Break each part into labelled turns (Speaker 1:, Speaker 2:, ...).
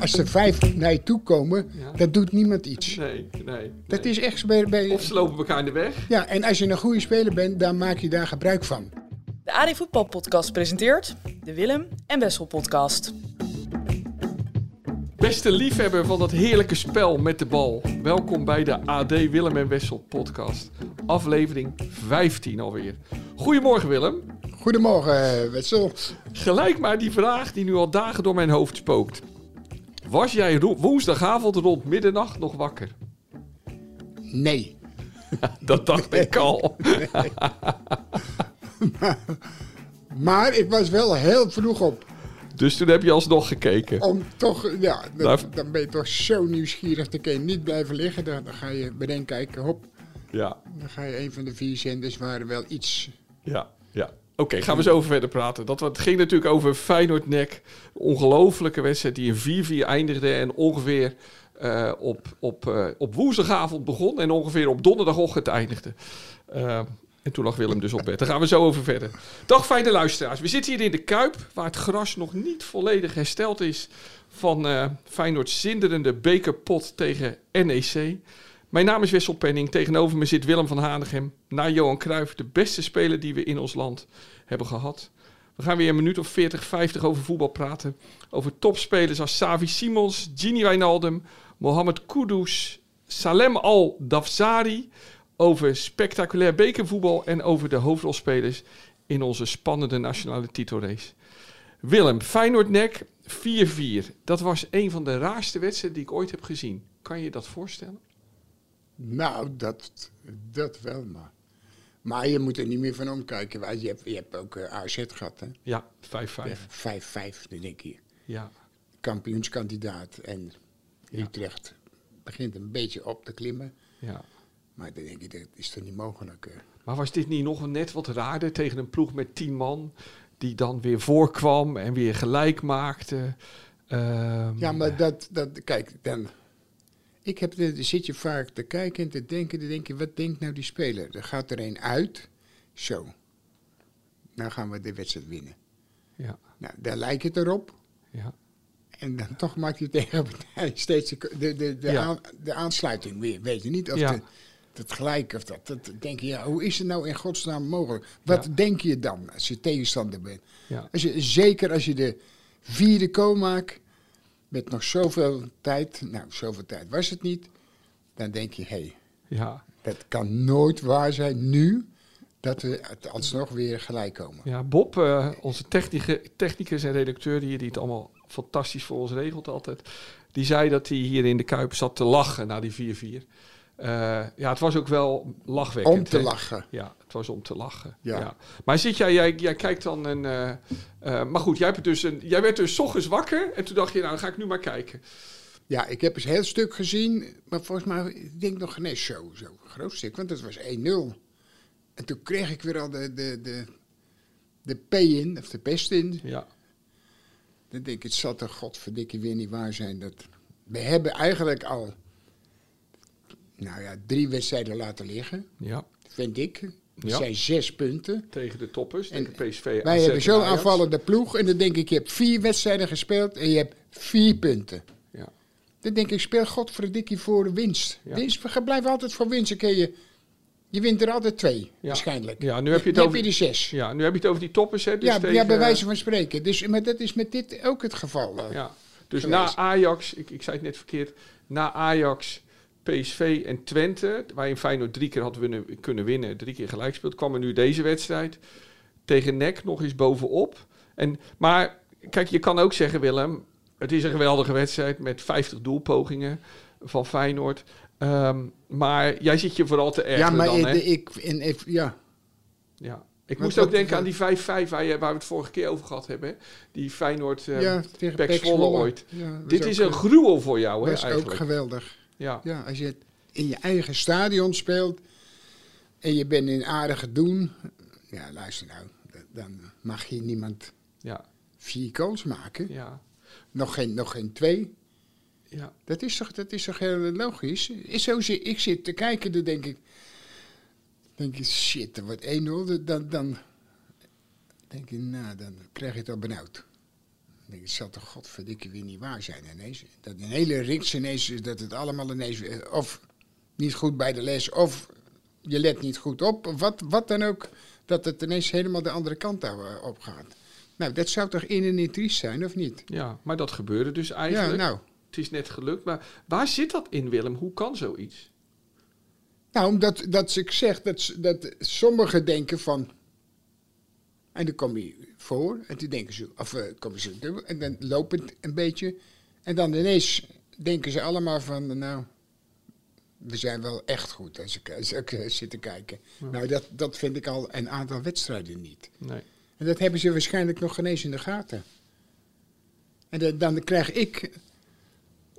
Speaker 1: Als er vijf naar je toe komen,
Speaker 2: Ja.
Speaker 1: dat doet niemand iets.
Speaker 2: Nee, nee.
Speaker 1: Dat
Speaker 2: nee.
Speaker 1: is echt bij, bij-
Speaker 2: Of ze lopen elkaar in de weg.
Speaker 1: Ja, en als je een goede speler bent, dan maak je daar gebruik van.
Speaker 3: De AD Voetbal Podcast presenteert de Willem en Wessel Podcast.
Speaker 2: Beste liefhebber van dat heerlijke spel met de bal. Welkom bij de AD Willem en Wessel podcast. Aflevering 15 alweer. Goedemorgen Willem.
Speaker 1: Goedemorgen, eh, Wessel.
Speaker 2: Gelijk maar die vraag die nu al dagen door mijn hoofd spookt. Was jij ro- woensdagavond rond middernacht nog wakker?
Speaker 1: Nee.
Speaker 2: Dat dacht ik al.
Speaker 1: Maar ik was wel heel vroeg op.
Speaker 2: Dus toen heb je alsnog gekeken.
Speaker 1: Om toch, ja, dat,
Speaker 2: Daar-
Speaker 1: dan ben je toch zo nieuwsgierig. Dan kun je niet blijven liggen. Dan, dan ga je beneden kijken, hop.
Speaker 2: Ja,
Speaker 1: Dan ga je een van de vier zenders waar wel iets...
Speaker 2: ja, ja. Oké, gaan we zo over verder praten. Dat, het ging natuurlijk over Feyenoord-Nek. Ongelofelijke wedstrijd die in 4-4 eindigde. En ongeveer eh, op, op, eh, op woensdagavond begon. En ongeveer op donderdagochtend eindigde. Eh, en toen lag Willem dus op bed. Daar gaan we zo over verder. Dag fijne luisteraars. We zitten hier in de Kuip, waar het gras nog niet volledig hersteld is van eh Feyenoord's zinderende bekerpot tegen NEC. Mijn naam is Wessel Penning. Tegenover me zit Willem van Hanegem. Na Johan Cruijff, de beste speler die we in ons land hebben gehad. We gaan weer een minuut of 40, 50 over voetbal praten. Over topspelers als Savi Simons, Gini Wijnaldum, Mohamed Kudus, Salem Al-Dafzari. Over spectaculair bekervoetbal en over de hoofdrolspelers in onze spannende nationale titelrace. Willem, Feyenoord-Nek 4-4. Dat was een van de raarste wedstrijden die ik ooit heb gezien. Kan je je dat voorstellen?
Speaker 1: Nou, dat, dat wel, maar... Maar je moet er niet meer van omkijken. want Je hebt, je hebt ook eh, AZ gehad, hè.
Speaker 2: Ja, 5-5.
Speaker 1: Ja, 5-5, dan denk je.
Speaker 2: Ja.
Speaker 1: Kampioenskandidaat. En Utrecht begint een beetje op te klimmen.
Speaker 2: ja.
Speaker 1: Maar dan denk je, dat is toch niet mogelijk. eh?
Speaker 2: Maar was dit niet nog net wat raarder tegen een ploeg met 10 man? Die dan weer voorkwam en weer gelijk maakte. Ehm,
Speaker 1: Ja, maar dat, dat, kijk, dan. Ik heb, dan zit je vaak te kijken en te denken, dan denk je, wat denkt nou die speler? Dan gaat er een uit, zo. Nou gaan we de wedstrijd winnen.
Speaker 2: Ja,
Speaker 1: Nou, daar lijkt het erop.
Speaker 2: ja,
Speaker 1: En dan toch maakt die tegenpartij steeds de, de, de, de,
Speaker 2: Ja.
Speaker 1: aan- de aansluiting weer. Weet je niet of
Speaker 2: Ja.
Speaker 1: de- dat gelijk of dat. Dat denk je, ja, hoe is het nou in godsnaam mogelijk? Wat
Speaker 2: Ja.
Speaker 1: denk je dan als je tegenstander bent?
Speaker 2: ja,
Speaker 1: Als je, zeker als je de vierde kool maakt, met nog zoveel tijd, nou zoveel tijd was het niet, dan denk je, hé, hey,
Speaker 2: ja.
Speaker 1: dat kan nooit waar zijn nu, dat we het alsnog weer gelijk komen.
Speaker 2: Ja, Bob, eh, onze techniche- technicus en redacteur hier, die het allemaal fantastisch voor ons regelt altijd. Die zei dat hij hier in de Kuip zat te lachen na die 4-4. Eh, ja, het was ook wel lachwekkend.
Speaker 1: Om te
Speaker 2: hè?
Speaker 1: lachen.
Speaker 2: Ja, het was om te lachen.
Speaker 1: Ja.
Speaker 2: Ja. Maar zit jij, jij, jij kijkt dan een. eh, eh, maar goed, jij, hebt dus een, jij werd dus 's ochtends wakker en toen dacht je, nou dan ga ik nu maar kijken.
Speaker 1: Ja, ik heb eens een heel stuk gezien, maar volgens mij, ik denk nog nee, zo, zo groot stuk, want dat was 1-0. En toen kreeg ik weer al de, de, de, de P in, of de pest in.
Speaker 2: Ja,
Speaker 1: Dan denk ik, het zal toch godverdikke weer niet waar zijn. Dat we hebben eigenlijk al nou ja, drie wedstrijden laten liggen,
Speaker 2: ja.
Speaker 1: vind ik. Dat
Speaker 2: Ja.
Speaker 1: zijn zes punten.
Speaker 2: Tegen de toppers,
Speaker 1: En
Speaker 2: tegen PSV.
Speaker 1: Wij
Speaker 2: AZ
Speaker 1: hebben
Speaker 2: en
Speaker 1: zo'n
Speaker 2: Ajax.
Speaker 1: aanvallende ploeg. En dan denk ik, je hebt vier wedstrijden gespeeld en je hebt vier punten.
Speaker 2: Ja,
Speaker 1: Dan denk ik, speel godverdikkie voor de winst.
Speaker 2: Ja.
Speaker 1: Winst, we gaan- blijven altijd voor winst. Dan kun je, je wint er altijd twee, waarschijnlijk.
Speaker 2: Ja, nu heb je het
Speaker 1: Dan
Speaker 2: over-
Speaker 1: heb je de zes. Ja,
Speaker 2: ja, nu heb je het over die toppers, hè? Dus
Speaker 1: ja,
Speaker 2: tegen,
Speaker 1: bij wijze van spreken. Dus, maar dat is met dit ook het geval. eh.
Speaker 2: Ja. Dus
Speaker 1: geweest.
Speaker 2: na Ajax, ik, ik zei het net verkeerd, na Ajax, PSV en Twente, waarin Feyenoord drie keer had winnen- kunnen winnen, drie keer gelijk speelt, kwam er nu deze wedstrijd tegen NEC nog eens bovenop. En, maar kijk, je kan ook zeggen, Willem, het is een geweldige wedstrijd met 50 doelpogingen van Feyenoord. Ehm, maar jij zit je vooral te
Speaker 1: Ja,
Speaker 2: ergeren
Speaker 1: maar
Speaker 2: dan,
Speaker 1: ik,
Speaker 2: hè?
Speaker 1: ik, en ik- ja.
Speaker 2: Ja. Ik
Speaker 1: Maar
Speaker 2: moest
Speaker 1: wat-
Speaker 2: ook denken aan die 5-5
Speaker 1: wat-
Speaker 2: waar, je- waar we het vorige keer over gehad hebben. hè? Die Feyenoord eh
Speaker 1: ja, tegen
Speaker 2: Pek
Speaker 1: Pek
Speaker 2: Zwolle
Speaker 1: Zwolle.
Speaker 2: ooit.
Speaker 1: Ja, was
Speaker 2: Dit
Speaker 1: ook,
Speaker 2: is een
Speaker 1: eh,
Speaker 2: gruwel voor jou, hè,
Speaker 1: was ook
Speaker 2: eigenlijk.
Speaker 1: geweldig.
Speaker 2: Ja.
Speaker 1: Ja, als je in je eigen stadion speelt en je bent in aardige doen. Ja, luister nou, d- dan mag je niemand
Speaker 2: Ja,
Speaker 1: vier goals maken.
Speaker 2: ja,
Speaker 1: Nog, geen, nog geen twee.
Speaker 2: ja.
Speaker 1: Dat is toch, dat is toch heel logisch? Is zo, zi- ik zit te kijken, dan denk ik... denk ik, shit, er wordt 1-0. Dan, dan, dan denk ik, nou, dan krijg je het al benauwd. Dan denk ik, het zal toch godverdikke weer niet waar zijn ineens. Dat een hele riks ineens is dat het allemaal ineens... eh, of niet goed bij de les, of je let niet goed op. of Wat, wat dan ook, dat het ineens helemaal de andere kant daar, eh, op gaat. Nou, dat zou toch in en in triest zijn, of niet?
Speaker 2: Ja, maar dat gebeurde dus eigenlijk.
Speaker 1: Ja, nou...
Speaker 2: Het is net gelukt, maar waar zit dat in, Willem? Hoe kan zoiets?
Speaker 1: Nou, omdat dat ze- ik zeg dat, ze- dat sommigen denken van. En dan kom je voor, en toen denken ze. Of eh, komen ze dubbel, en dan lopen het een beetje. En dan ineens denken ze allemaal van. Nou, we zijn wel echt goed als ik, als ik eh, zit te kijken. Nou, dat, dat vind ik al een aantal wedstrijden niet.
Speaker 2: Nee.
Speaker 1: En dat hebben ze waarschijnlijk nog geen eens in de gaten. En dan, dan krijg ik.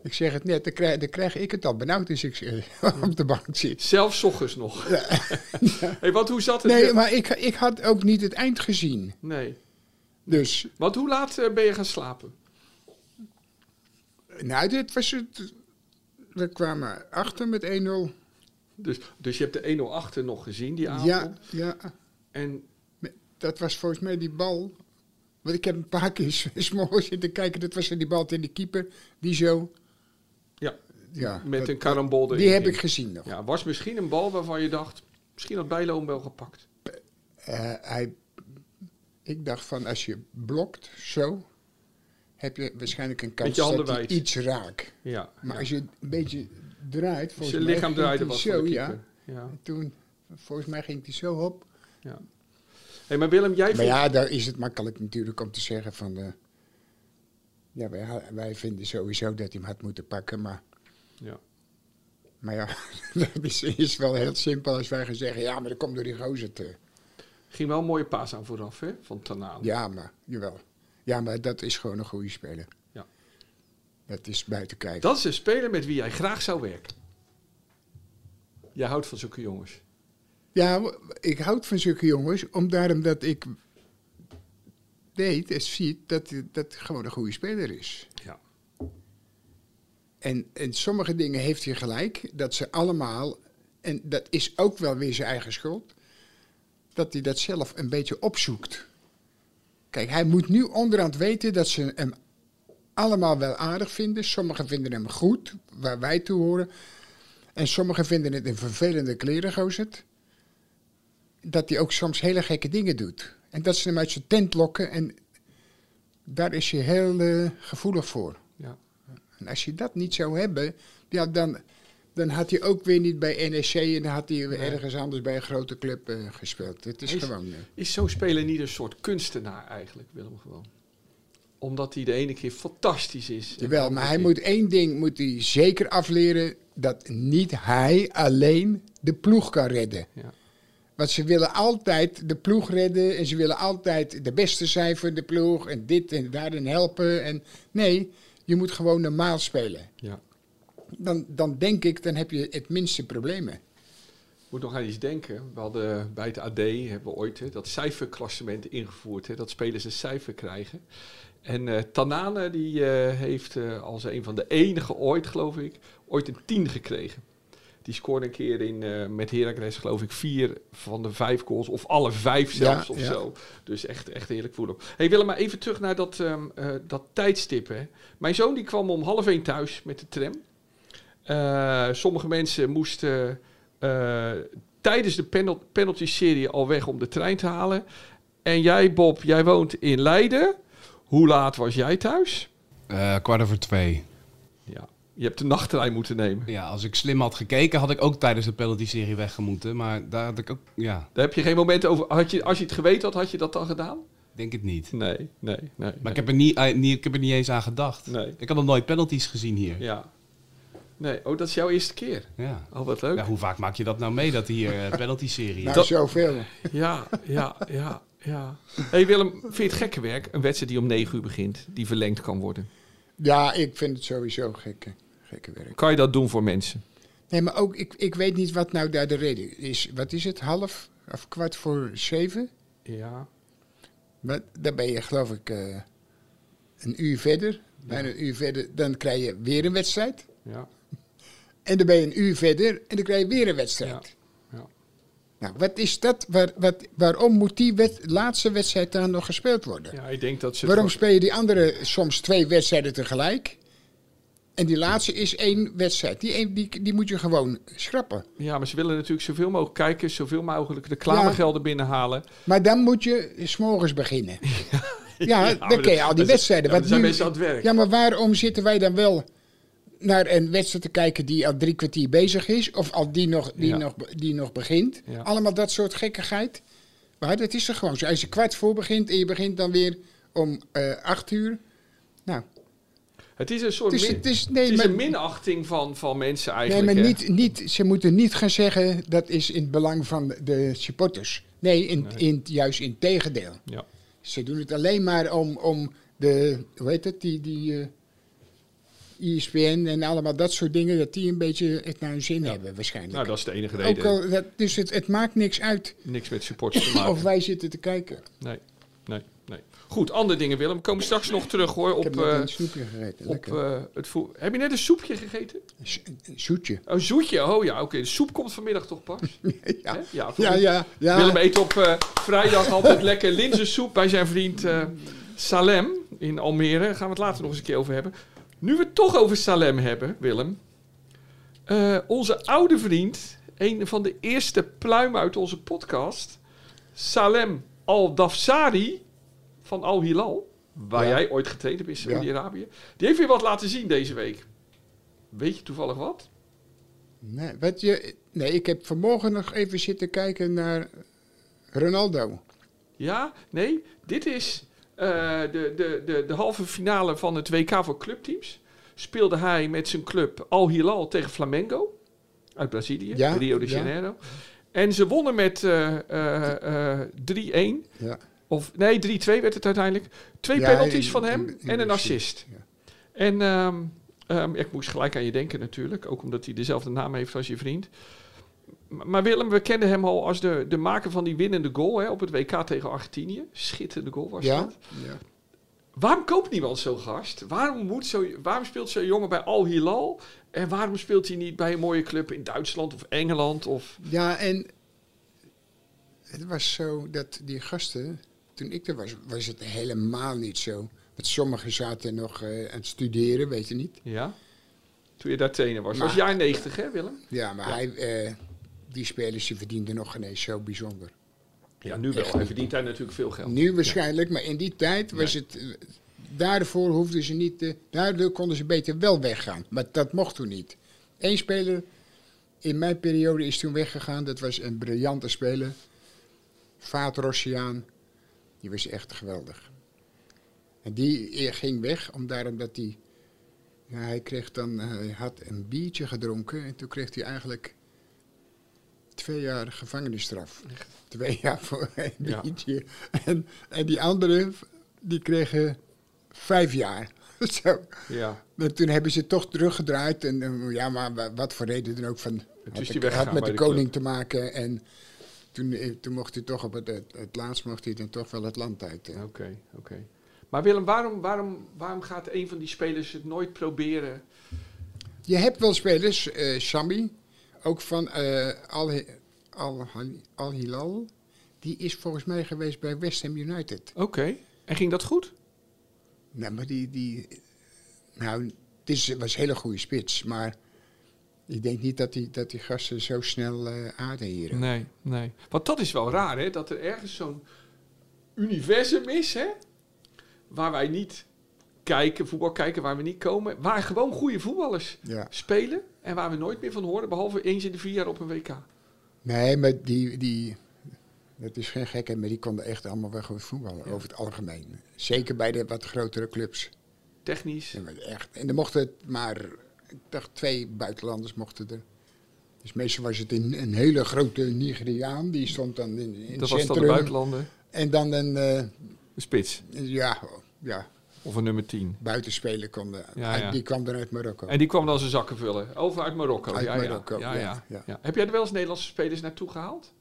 Speaker 1: Ik zeg het net, dan krijg, dan krijg ik het al benauwd als ik eh, op de bank zit.
Speaker 2: Zelfs 's ochtends nog. hey, want hoe zat het?
Speaker 1: Nee, maar ik, ik had ook niet het eind gezien.
Speaker 2: nee.
Speaker 1: Dus,
Speaker 2: Want hoe laat eh, ben je gaan slapen?
Speaker 1: nou, dit was het. We kwamen achter met 1-0.
Speaker 2: Dus, dus je hebt de 1-0 achter nog gezien die avond.
Speaker 1: Ja, ja.
Speaker 2: En
Speaker 1: Dat was volgens mij die bal. Want ik heb een paar keer s- s'morgens zitten kijken. Dat was die bal tegen de keeper. Die zo.
Speaker 2: ja,
Speaker 1: Ja,
Speaker 2: met
Speaker 1: dat-
Speaker 2: een karambol erin.
Speaker 1: Die heb
Speaker 2: ging.
Speaker 1: ik gezien nog.
Speaker 2: Ja, was misschien een bal waarvan je dacht, misschien had Bijlo hem wel gepakt.
Speaker 1: Eh, hij, ik dacht van, als je blokt, zo. Heb je waarschijnlijk een kans
Speaker 2: Met je handen
Speaker 1: dat hij
Speaker 2: wijd.
Speaker 1: iets raakt.
Speaker 2: Ja.
Speaker 1: Maar
Speaker 2: ja.
Speaker 1: als je een beetje draait.
Speaker 2: Dus
Speaker 1: volgens
Speaker 2: je
Speaker 1: mij
Speaker 2: lichaam
Speaker 1: ging
Speaker 2: draaide
Speaker 1: hij
Speaker 2: was
Speaker 1: zo,
Speaker 2: van de
Speaker 1: ja.
Speaker 2: keeper. Ja.
Speaker 1: En toen, volgens mij ging hij zo op.
Speaker 2: ja. Hey, maar Willem, jij
Speaker 1: Maar
Speaker 2: vindt...
Speaker 1: ja, daar is het makkelijk natuurlijk om te zeggen van... eh, ja, wij, ha- wij vinden sowieso dat hij hem had moeten pakken, maar...
Speaker 2: Ja.
Speaker 1: Maar ja, dat is, is wel heel simpel als wij gaan zeggen... Ja, maar dat komt door die gozer te...
Speaker 2: Ging wel een mooie paas aan vooraf, hè? Van Tanaan.
Speaker 1: Ja, maar, jawel. Ja, maar dat is gewoon een goede speler.
Speaker 2: Ja.
Speaker 1: Dat is buiten kijf.
Speaker 2: Dat is een speler met wie jij graag zou werken. Jij houdt van zulke jongens.
Speaker 1: Ja, w- ik houd van zulke jongens, omdat dat ik weet en zie dat hij- dat hij gewoon een goede speler is.
Speaker 2: Ja.
Speaker 1: En, en sommige dingen heeft hij gelijk, dat ze allemaal, en dat is ook wel weer zijn eigen schuld, dat hij dat zelf een beetje opzoekt. Kijk, hij moet nu onderhand weten dat ze hem allemaal wel aardig vinden. Sommigen vinden hem goed, waar wij toe horen. En sommigen vinden het een vervelende klerengozer. Dat hij ook soms hele gekke dingen doet. En dat ze hem uit zijn tent lokken. En daar is hij heel eh, gevoelig voor.
Speaker 2: ja.
Speaker 1: En als je dat niet zou hebben, ja, dan, dan had hij ook weer niet bij NEC en dan had hij weer ergens anders bij een grote club eh, gespeeld. Het is
Speaker 2: Is-
Speaker 1: gewoon. eh,
Speaker 2: Is zo'n speler niet een soort kunstenaar eigenlijk, Willem gewoon? Omdat hij de ene keer fantastisch is. en de
Speaker 1: jawel,
Speaker 2: andere
Speaker 1: maar hij
Speaker 2: keer-
Speaker 1: moet één ding moet hij zeker afleren: dat niet hij alleen de ploeg kan redden.
Speaker 2: Ja.
Speaker 1: Want ze willen altijd de ploeg redden en ze willen altijd de beste zijn voor de ploeg en dit en daarin helpen. En nee, je moet gewoon normaal spelen.
Speaker 2: ja.
Speaker 1: Dan, dan denk ik, dan heb je het minste problemen.
Speaker 2: moet nog aan iets denken. We hadden bij het AD hebben we ooit hè, dat cijferklassement ingevoerd. Hè, dat spelers een cijfer krijgen. En eh Tanane die eh, heeft eh, als een van de enige ooit, geloof ik, ooit een 10 gekregen. Die scoorde een keer in, eh, met Heracles, geloof ik, vier van de vijf goals. Of alle vijf zelfs
Speaker 1: Ja,
Speaker 2: of
Speaker 1: ja.
Speaker 2: zo. Dus echt, echt heerlijk voelen. hey Willem, maar even terug naar dat, ehm, eh, dat tijdstip. Hè. Mijn zoon die kwam om half één thuis met de tram. Eh, sommige mensen moesten eh, tijdens de penal- penalty-serie al weg om de trein te halen. En jij, Bob, jij woont in Leiden. Hoe laat was jij thuis?
Speaker 4: Eh, kwart over twee.
Speaker 2: Ja, je hebt de nachttrein moeten nemen.
Speaker 4: Ja, als ik slim had gekeken, had ik ook tijdens de penalty-serie weggemoeten. Maar daar had ik ook... Ja,
Speaker 2: Daar heb je geen moment over. Had je, als je het geweten had, had je dat dan gedaan?
Speaker 4: denk het niet.
Speaker 2: Nee, nee, nee.
Speaker 4: Maar ik heb er niet, eh, niet- ik heb er niet eens aan gedacht.
Speaker 2: Nee.
Speaker 4: Ik had nog nooit penalties gezien hier. Ja.
Speaker 2: Ja. Nee, oh, dat is jouw eerste keer.
Speaker 4: Ja.
Speaker 2: Oh, wat leuk.
Speaker 4: hoe vaak maak je dat nou mee, dat hier eh, penalty-serie is?
Speaker 1: Nou,
Speaker 2: Dat-
Speaker 1: zoveel.
Speaker 2: Ja, ja, ja, ja. hey Willem, vind je het gekke werk? Een wedstrijd die om 9 uur begint, die verlengd kan worden.
Speaker 1: Ja, ik vind het sowieso gekke, gekke werk.
Speaker 2: Kan je dat doen voor mensen?
Speaker 1: Nee, maar ook, ik, ik weet niet wat nou daar de reden is. Wat is het, half of kwart voor zeven?
Speaker 2: Ja.
Speaker 1: Maar dan ben je, geloof ik, eh, een uur verder. Bijna een uur verder, dan krijg je weer een wedstrijd.
Speaker 2: Ja.
Speaker 1: En dan ben je een uur verder en dan krijg je weer een wedstrijd.
Speaker 2: Ja, ja.
Speaker 1: Nou, wat is dat? Waar, wat, waarom moet die wed- laatste wedstrijd dan nog gespeeld worden?
Speaker 2: ja, ik denk dat ze...
Speaker 1: Waarom speel je die andere soms twee wedstrijden tegelijk? En die laatste is één wedstrijd. Die, één- die, die moet je gewoon schrappen.
Speaker 2: Ja, maar ze willen natuurlijk zoveel mogelijk kijkers, zoveel mogelijk reclamegelden binnenhalen.
Speaker 1: Maar dan moet je s'morgens beginnen. Ja,
Speaker 2: maar
Speaker 1: dan ken je
Speaker 2: dat-
Speaker 1: al die
Speaker 2: dat-
Speaker 1: wedstrijden.
Speaker 2: ja,
Speaker 1: Wat
Speaker 2: maar dan zijn
Speaker 1: nu-
Speaker 2: mensen aan het werk.
Speaker 1: Ja, maar waarom zitten wij dan wel naar een wedstrijd te kijken die al drie kwartier bezig is? Of al die nog, die
Speaker 2: Ja.
Speaker 1: nog, be- die nog begint?
Speaker 2: Ja.
Speaker 1: Allemaal dat soort gekkigheid. Maar dat is er gewoon zo. Als je kwart voor begint en je begint dan weer om eh, acht uur. Nou,
Speaker 2: Het is een soort
Speaker 1: Het is-
Speaker 2: min-
Speaker 1: het is- nee,
Speaker 2: het is
Speaker 1: maar-
Speaker 2: een minachting van, van mensen
Speaker 1: nee,
Speaker 2: eigenlijk.
Speaker 1: maar
Speaker 2: hè.
Speaker 1: niet, niet, ze moeten niet gaan zeggen dat is in het belang van de supporters. Nee, in, In, juist in tegendeel.
Speaker 2: Ja.
Speaker 1: Ze doen het alleen maar om, om de, hoe heet het, die, die eh, ESPN en allemaal dat soort dingen, dat die een beetje het naar hun zin hebben waarschijnlijk.
Speaker 2: Nou, dat is de enige
Speaker 1: Ook
Speaker 2: reden.
Speaker 1: al, dat, dus het, het maakt niks uit
Speaker 2: Niks met supporters te maken.
Speaker 1: of wij zitten te kijken.
Speaker 2: Nee, nee, nee. Goed, andere dingen Willem. Komen straks nog terug hoor.
Speaker 1: Ik
Speaker 2: Op,
Speaker 1: heb net
Speaker 2: eh,
Speaker 1: een snoepje gegeten.
Speaker 2: op
Speaker 1: Lekker.
Speaker 2: eh, het voer- Heb je net een soepje gegeten?
Speaker 1: Een s- een zoetje.
Speaker 2: Een zoetje? Oh ja, oké. De soep komt vanmiddag toch pas?
Speaker 1: ja.
Speaker 2: Hè? Ja, voor-
Speaker 1: Ja, ja, ja.
Speaker 2: Willem eet op eh, vrijdag altijd lekker linzensoep bij zijn vriend eh, Salem in Almere. Daar gaan we het later nog eens een keer over hebben. Nu we het toch over Salem hebben, Willem. Eh, onze oude vriend, een van de eerste pluimen uit onze podcast, Salem Al-Dafsari van Al-Hilal, waar
Speaker 1: Ja.
Speaker 2: jij ooit getreden bent in
Speaker 1: Ja.
Speaker 2: Saudi-Arabië, die heeft weer wat laten zien deze week. Weet je toevallig wat?
Speaker 1: Nee, wat je, nee, ik heb vanmorgen nog even zitten kijken naar Ronaldo.
Speaker 2: Ja, nee, dit is eh, de, de, de, de halve finale van het WK voor clubteams. Speelde hij met zijn club Al Hilal tegen Flamengo uit Brazilië,
Speaker 1: Ja,
Speaker 2: Rio de
Speaker 1: ja.
Speaker 2: Janeiro. En ze wonnen met eh, eh, eh, 3-1.
Speaker 1: Ja.
Speaker 2: Of nee, 3-2 werd het uiteindelijk. Twee
Speaker 1: Ja,
Speaker 2: penalties
Speaker 1: in-
Speaker 2: van
Speaker 1: in-
Speaker 2: hem
Speaker 1: in- in
Speaker 2: en een
Speaker 1: de
Speaker 2: assist.
Speaker 1: assist,
Speaker 2: En ehm, ehm, ik moest gelijk aan je denken natuurlijk. Ook omdat hij dezelfde naam heeft als je vriend. M- Maar Willem, we kenden hem al als de, de maker van die winnende goal hè, op het WK tegen Argentinië. Schitterende goal was
Speaker 1: Ja?
Speaker 2: dat.
Speaker 1: ja.
Speaker 2: Waarom koopt niemand zo'n gast? Waarom, moet zo, waarom speelt zo'n jongen bij Al Hilal? En waarom speelt hij niet bij een mooie club in Duitsland of Engeland? Of...
Speaker 1: Ja, en het was zo dat die gasten, toen ik er was, was het helemaal niet zo. Want sommigen zaten nog eh, aan het studeren, weet je niet.
Speaker 2: Ja, toen je daar trainer was. Dat was
Speaker 1: Maar-
Speaker 2: jaar 90 hè Willem?
Speaker 1: Ja, maar Hij, eh, die spelers die verdienden nog geen eens zo bijzonder.
Speaker 2: Ja, nu wel. Hij verdient daar natuurlijk veel geld.
Speaker 1: Nu waarschijnlijk, maar in die tijd was het. eh, Daarvoor hoefden ze niet. eh, daardoor konden ze beter wel weggaan. Maar dat mocht toen niet. Eén speler in mijn periode is toen weggegaan. Dat was een briljante speler. Vaat Rossiaan. Die was echt geweldig. En die eh, ging weg, omdat omdat hij. Ja, hij, kreeg dan, eh, hij had een biertje gedronken en toen kreeg hij eigenlijk twee jaar gevangenisstraf. Twee jaar voor een
Speaker 2: Ja.
Speaker 1: biertje. En, en die anderen, die kregen vijf jaar. Zo.
Speaker 2: Ja.
Speaker 1: Maar toen hebben ze toch teruggedraaid. En eh, ja, maar wa- wat voor reden dan ook. Van, had,
Speaker 2: is
Speaker 1: de-
Speaker 2: hij weggegaan
Speaker 1: had met
Speaker 2: bij
Speaker 1: de
Speaker 2: de club.
Speaker 1: koning te maken. En toen, eh, toen mocht hij toch op het, het, het laatst mocht hij dan toch wel het land uit. eh.
Speaker 2: Oké, oké. Maar Willem, waarom, waarom, waarom gaat een van die spelers het nooit proberen?
Speaker 1: Je hebt wel spelers, eh Sammy, ook van eh, Al, Al, Al Hilal. Die is volgens mij geweest bij West Ham United.
Speaker 2: Oké. En ging dat goed?
Speaker 1: Nou, maar die. die nou, het is, was een hele goede spits. Maar ik denk niet dat die, dat die gasten zo snel eh aarde hier.
Speaker 2: Nee, nee. Want dat is wel raar, hè? Dat er ergens zo'n universum is, hè? Waar wij niet kijken, voetbal kijken, waar we niet komen. Waar gewoon goede voetballers
Speaker 1: Ja.
Speaker 2: spelen. En waar we nooit meer van horen, behalve eens in de vier jaar op een WK.
Speaker 1: Nee, maar die, die, dat is geen gekheid, maar die konden echt allemaal wel goed voetballen, over het algemeen. Zeker bij de wat grotere clubs.
Speaker 2: Technisch.
Speaker 1: Ja, maar echt. En dan mochten het maar, ik dacht twee buitenlanders mochten er. Dus meestal was het een, een hele grote Nigeriaan, die stond dan in, in het
Speaker 2: Dat was dan de
Speaker 1: centrum.
Speaker 2: buitenlander.
Speaker 1: en dan een, eh,
Speaker 2: De spits.
Speaker 1: ja, ja,
Speaker 2: Of een nummer 10.
Speaker 1: Buitenspelen kwam de,
Speaker 2: Ja,
Speaker 1: uit-
Speaker 2: ja.
Speaker 1: Die kwam dan uit Marokko.
Speaker 2: En die kwam dan zijn zakken vullen. Over uit Marokko.
Speaker 1: Uit
Speaker 2: ja, ja.
Speaker 1: Marokko,
Speaker 2: Ja,
Speaker 1: ja,
Speaker 2: ja.
Speaker 1: ja.
Speaker 2: Ja. Heb jij er wel eens Nederlandse spelers naartoe gehaald?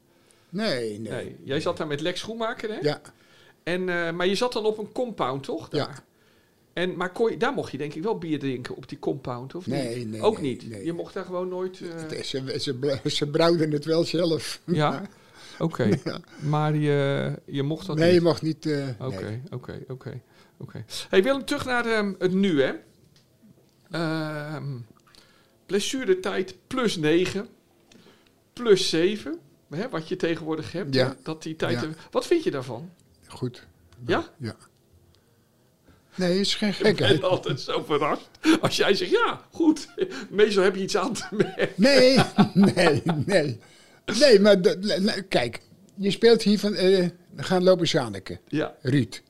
Speaker 1: Nee, nee.
Speaker 2: Nee. Jij zat daar met Lex Schoenmaker, hè?
Speaker 1: Ja,
Speaker 2: En, eh, maar je zat dan op een compound, toch? Daar?
Speaker 1: ja.
Speaker 2: En, maar kon je, daar mocht je denk ik wel bier drinken op die compound, of
Speaker 1: Nee,
Speaker 2: niet?
Speaker 1: nee,
Speaker 2: Ook
Speaker 1: nee,
Speaker 2: niet?
Speaker 1: nee.
Speaker 2: Je mocht daar gewoon nooit... eh,
Speaker 1: Het is- Ze, ze, bra- ze brouwden het wel zelf.
Speaker 2: Ja, oké. Maar je, je mocht dat
Speaker 1: nee, je
Speaker 2: niet?
Speaker 1: mag niet. eh, nee.
Speaker 2: Oké, oké, oké. oké. Hey Willem, terug naar ehm, het nu, hè. Ehm blessuretijd plus 9, plus 7, hè, wat je tegenwoordig hebt.
Speaker 1: Ja.
Speaker 2: hè, Dat die tijd
Speaker 1: Ja. Nou.
Speaker 2: er- Wat vind je daarvan?
Speaker 1: Goed.
Speaker 2: Ja?
Speaker 1: Ja. Nee, is geen
Speaker 2: Ik ben
Speaker 1: gekheid.
Speaker 2: altijd zo verrast als jij zegt, ja, goed. Meestal heb je iets aan te merken.
Speaker 1: Nee, nee, nee. Nee, maar dat- le- le- kijk, je speelt hier van. eh, we gaan lopen Zaneke.
Speaker 2: Ja,
Speaker 1: Ruud.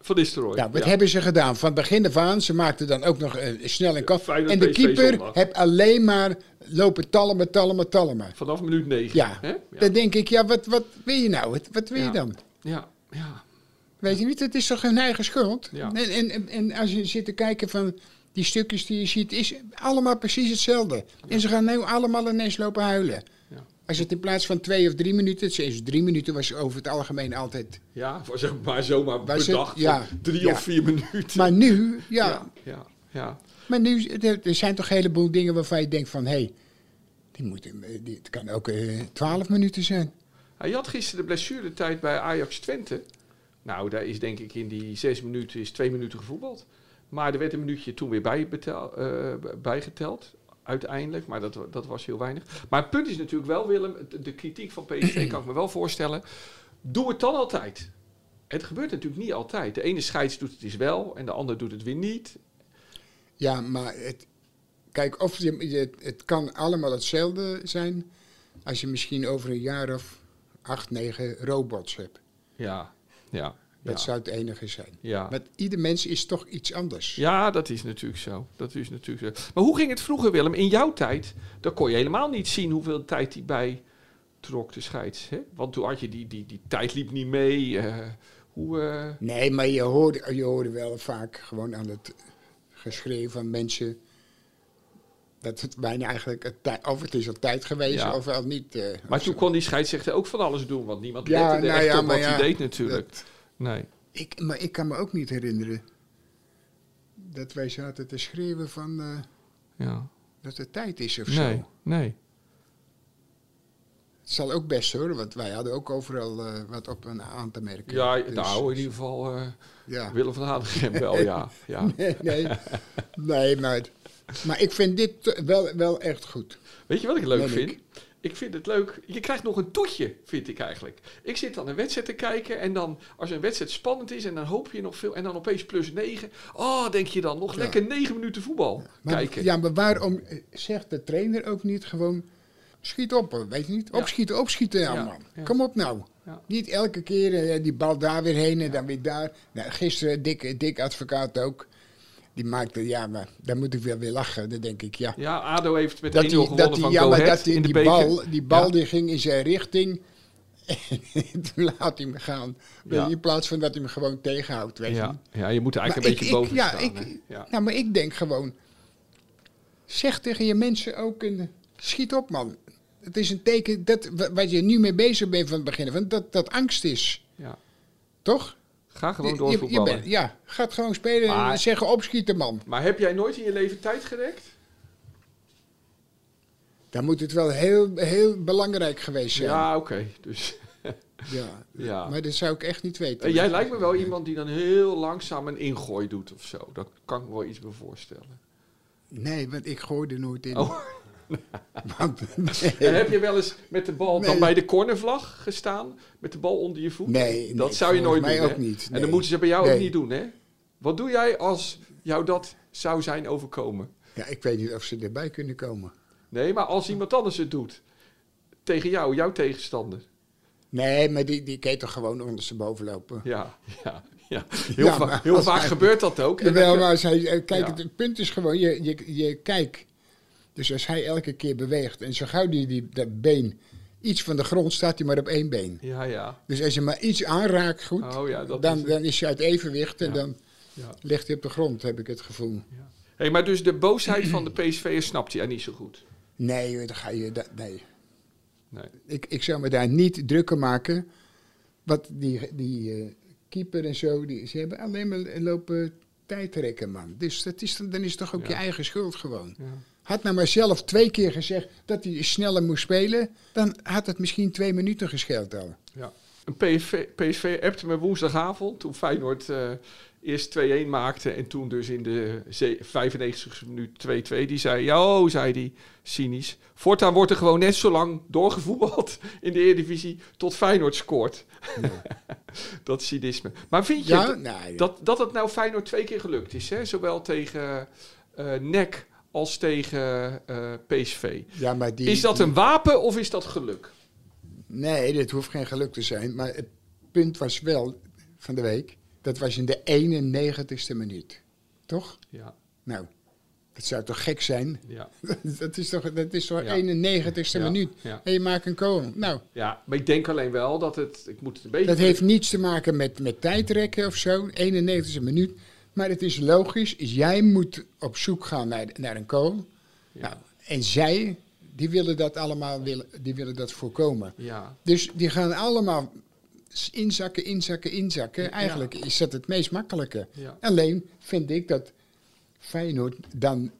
Speaker 2: Van Nistelrooy.
Speaker 1: Nou, wat hebben ze gedaan? Van begin af aan, ze maakten dan ook nog eh, snel een kaf.
Speaker 2: Feyenoord
Speaker 1: En de
Speaker 2: PSV zondag.
Speaker 1: keeper heeft alleen maar lopen talmen, talmen, talmen.
Speaker 2: Vanaf minuut 9.
Speaker 1: Ja,
Speaker 2: Hè?
Speaker 1: dan denk ik, ja, wat, wat wil je nou? Wat, wat wil
Speaker 2: Ja.
Speaker 1: je dan?
Speaker 2: ja, ja.
Speaker 1: Weet je niet, het is toch hun eigen schuld?
Speaker 2: Ja.
Speaker 1: En, en, en, en als je zit te kijken van die stukjes die je ziet, is allemaal precies hetzelfde. En ze gaan nu allemaal ineens lopen huilen.
Speaker 2: Ja.
Speaker 1: Als het in plaats van twee of drie minuten, het is drie minuten was over het algemeen altijd.
Speaker 2: Ja, was ook maar zomaar
Speaker 1: Was het-
Speaker 2: bedacht. voor
Speaker 1: ja,
Speaker 2: drie
Speaker 1: ja.
Speaker 2: of vier minuten.
Speaker 1: Maar nu, ja,
Speaker 2: ja, ja, ja.
Speaker 1: maar nu, er er zijn toch een heleboel dingen waarvan je denkt van, hé, hey, die moeten, eh, die, het kan ook eh, twaalf minuten zijn.
Speaker 2: Hij had gisteren de blessuretijd bij Ajax Twente. Nou, daar is denk ik in die zes minuten is twee minuten gevoetbald. Maar er werd een minuutje toen weer bij betel- eh, b- bijgeteld. Uiteindelijk, maar dat, wa- dat was heel weinig. Maar het punt is natuurlijk wel, Willem, het- de kritiek van PSV kan ik me wel voorstellen. Doe het dan altijd. Het gebeurt natuurlijk niet altijd. De ene scheids doet het eens wel en de ander doet het weer niet.
Speaker 1: Ja, maar het, kijk, of je, je- het kan allemaal hetzelfde zijn als je misschien over een jaar of acht, negen robots hebt.
Speaker 2: Ja, ja.
Speaker 1: Dat
Speaker 2: ja.
Speaker 1: zou het enige zijn.
Speaker 2: Ja.
Speaker 1: Want ieder mens is toch iets anders.
Speaker 2: Ja, dat is natuurlijk zo. Dat is natuurlijk zo. Maar hoe ging het vroeger, Willem? In jouw tijd, dan kon je helemaal niet zien hoeveel tijd die bij trok, de scheids. Hè? Want toen had je die, die, die tijd liep niet mee. eh, hoe, eh,
Speaker 1: Nee, maar je hoorde, je hoorde wel vaak gewoon aan het geschreeuw van mensen dat het bijna eigenlijk, het tij- of het is al tijd geweest
Speaker 2: Ja.
Speaker 1: of wel niet. eh,
Speaker 2: maar
Speaker 1: of
Speaker 2: toen
Speaker 1: zo.
Speaker 2: kon die scheidsrechter ook van alles doen, want niemand
Speaker 1: Ja,
Speaker 2: lette er
Speaker 1: nou
Speaker 2: echt
Speaker 1: ja,
Speaker 2: op
Speaker 1: maar
Speaker 2: wat hij
Speaker 1: ja,
Speaker 2: deed natuurlijk. Nee.
Speaker 1: Ik, maar ik kan me ook niet herinneren dat wij zaten te schreeuwen van eh,
Speaker 2: Ja.
Speaker 1: dat het tijd is of
Speaker 2: Nee,
Speaker 1: zo.
Speaker 2: nee.
Speaker 1: Het zal ook best hoor, want wij hadden ook overal eh, wat op en aan te merken.
Speaker 2: Ja,
Speaker 1: Dus-
Speaker 2: nou, in ieder geval eh,
Speaker 1: Ja.
Speaker 2: Willem van Hanegem wel, ja. ja.
Speaker 1: Nee, nee, nee maar, maar ik vind dit te- wel, wel echt goed.
Speaker 2: Weet je wat ik leuk
Speaker 1: Leuk.
Speaker 2: vind? Ik vind het leuk. Je krijgt nog een toetje, vind ik eigenlijk. Ik zit dan een wedstrijd te kijken en dan als een wedstrijd spannend is en dan hoop je nog veel en dan opeens plus 9. Oh, denk je dan nog
Speaker 1: Ja.
Speaker 2: lekker 9 minuten voetbal
Speaker 1: Maar,
Speaker 2: kijken.
Speaker 1: Ja, maar waarom eh, zegt de trainer ook niet gewoon... Schiet op, hoor, weet je niet?
Speaker 2: Ja.
Speaker 1: Opschieten, opschieten nou,
Speaker 2: Ja,
Speaker 1: man.
Speaker 2: ja.
Speaker 1: Kom op nou.
Speaker 2: Ja.
Speaker 1: Niet elke keer eh, die bal daar weer heen en dan weer daar. Nou, gisteren, Dick, Dick Advocaat ook. Die maakte, ja, maar daar moet ik wel weer lachen. Dan denk ik, ja.
Speaker 2: Ja, ADO heeft met 1-0
Speaker 1: Dat die,
Speaker 2: gewonnen
Speaker 1: dat die,
Speaker 2: van
Speaker 1: ja,
Speaker 2: Go
Speaker 1: maar
Speaker 2: Ahead
Speaker 1: dat die,
Speaker 2: in de
Speaker 1: die
Speaker 2: beker.
Speaker 1: bal, die, bal
Speaker 2: Ja.
Speaker 1: die ging in zijn richting. En toen laat hij hem gaan.
Speaker 2: Ja.
Speaker 1: In plaats van dat hij hem gewoon tegenhoudt, weet je
Speaker 2: Ja.
Speaker 1: niet.
Speaker 2: ja, je moet er eigenlijk een
Speaker 1: Maar
Speaker 2: beetje
Speaker 1: ik-
Speaker 2: boven
Speaker 1: ik- ja,
Speaker 2: staan.
Speaker 1: ik-
Speaker 2: hè. ja.
Speaker 1: Nou, maar ik denk gewoon... Zeg tegen je mensen ook een... Schiet op, man. Het is een teken dat wa- waar je nu mee bezig bent van het begin. Want dat, dat angst is,
Speaker 2: ja.
Speaker 1: toch?
Speaker 2: Ga gewoon
Speaker 1: Je- je- je
Speaker 2: doorvoetballen.
Speaker 1: bent- ja, gaat gewoon spelen
Speaker 2: Maar-
Speaker 1: en zeggen opschieten, man.
Speaker 2: Maar heb jij nooit in je leven tijd gerekt?
Speaker 1: Dan moet het wel heel, heel belangrijk geweest zijn.
Speaker 2: Ja, oké. Dus...
Speaker 1: Ja.
Speaker 2: Ja.
Speaker 1: Maar dat zou ik echt niet weten.
Speaker 2: Eh, jij lijkt me wel iemand die dan heel langzaam een ingooi doet of zo. Daar kan ik me wel iets bij voorstellen.
Speaker 1: Nee, want ik gooi er nooit in.
Speaker 2: Oh.
Speaker 1: Want-
Speaker 2: En heb je wel eens met de bal dan
Speaker 1: Nee.
Speaker 2: bij de cornervlag gestaan? Met de bal onder je voet?
Speaker 1: Nee, nee,
Speaker 2: dat zou je nooit
Speaker 1: volgens mij
Speaker 2: doen.
Speaker 1: ook
Speaker 2: hè?
Speaker 1: niet,
Speaker 2: En
Speaker 1: nee.
Speaker 2: dan moeten ze bij jou ook
Speaker 1: Nee.
Speaker 2: niet doen, hè? Wat doe jij als jou dat zou zijn overkomen?
Speaker 1: ja, ik weet niet of ze erbij kunnen komen.
Speaker 2: Nee, maar als iemand anders het doet. Tegen jou, jouw tegenstander.
Speaker 1: Nee, maar die, die kan je toch gewoon ondersteboven lopen.
Speaker 2: Ja, ja, ja. Heel,
Speaker 1: Ja,
Speaker 2: va-
Speaker 1: maar
Speaker 2: heel
Speaker 1: als
Speaker 2: vaak
Speaker 1: hij-
Speaker 2: gebeurt dat ook. En
Speaker 1: Jawel,
Speaker 2: dan-
Speaker 1: maar als hij, eh, kijk,
Speaker 2: Ja.
Speaker 1: het, het punt is gewoon, je, je, je kijkt. Dus als hij elke keer beweegt en zo gauw die, die dat been iets van de grond staat, hij maar op één been.
Speaker 2: Ja, ja.
Speaker 1: Dus als je maar iets aanraakt goed,
Speaker 2: Oh ja, dat
Speaker 1: dan,
Speaker 2: is het.
Speaker 1: dan is je uit evenwicht en
Speaker 2: Ja.
Speaker 1: dan
Speaker 2: Ja.
Speaker 1: Legt hij op de grond, heb ik het gevoel.
Speaker 2: Hey, maar dus de boosheid van de PSV'ers snapt jij niet zo goed.
Speaker 1: Nee, joh, dan ga je. da- nee.
Speaker 2: Nee.
Speaker 1: Ik, ik zou me daar niet drukker maken. Wat die, die eh, keeper en zo, die, ze hebben alleen maar lopen tijdrekken, man. Dus dat is, dan dan is toch ook
Speaker 2: Ja.
Speaker 1: je eigen schuld gewoon.
Speaker 2: Ja.
Speaker 1: Had nou maar zelf twee keer gezegd dat hij sneller moest spelen, dan had het misschien twee minuten gescheeld al.
Speaker 2: Ja. Een PSV, PSV appte me woensdagavond toen Feyenoord eh, eerst 2-1 maakte en toen dus in de ze- 95e minuut 2-2. Die zei, ja, oh," zei die cynisch, voortaan wordt er gewoon net zo lang doorgevoetbald in de Eredivisie tot Feyenoord scoort. dat cynisme. Maar vind je
Speaker 1: Ja,
Speaker 2: dat-
Speaker 1: nou, ja.
Speaker 2: dat, dat het nou Feyenoord twee keer gelukt is, hè? zowel tegen eh NEC als tegen eh, PSV?
Speaker 1: ja, maar die,
Speaker 2: Is dat
Speaker 1: die-
Speaker 2: een wapen of is dat geluk?
Speaker 1: Nee, dit hoeft geen geluk te zijn. Maar het punt was wel van de week, dat was in de 91ste minuut. Toch?
Speaker 2: Ja,
Speaker 1: Nou, dat zou toch gek zijn?
Speaker 2: ja.
Speaker 1: dat is toch, dat is toch
Speaker 2: Ja.
Speaker 1: 91ste
Speaker 2: Ja,
Speaker 1: minuut.
Speaker 2: ja.
Speaker 1: En je maakt een koning. Nou,
Speaker 2: Ja, maar ik denk alleen wel dat het. Ik moet het een beetje.
Speaker 1: dat heeft niets te maken met, met tijdrekken of zo. 91ste minuut. Maar het is logisch. Jij moet op zoek gaan naar, naar een kool. Nou, en zij, die willen dat allemaal willen, die willen dat voorkomen.
Speaker 2: Ja,
Speaker 1: Dus die gaan allemaal s- inzakken, inzakken, inzakken. Eigenlijk is dat het meest makkelijke.
Speaker 2: Ja.
Speaker 1: Alleen vind ik dat Feyenoord dan,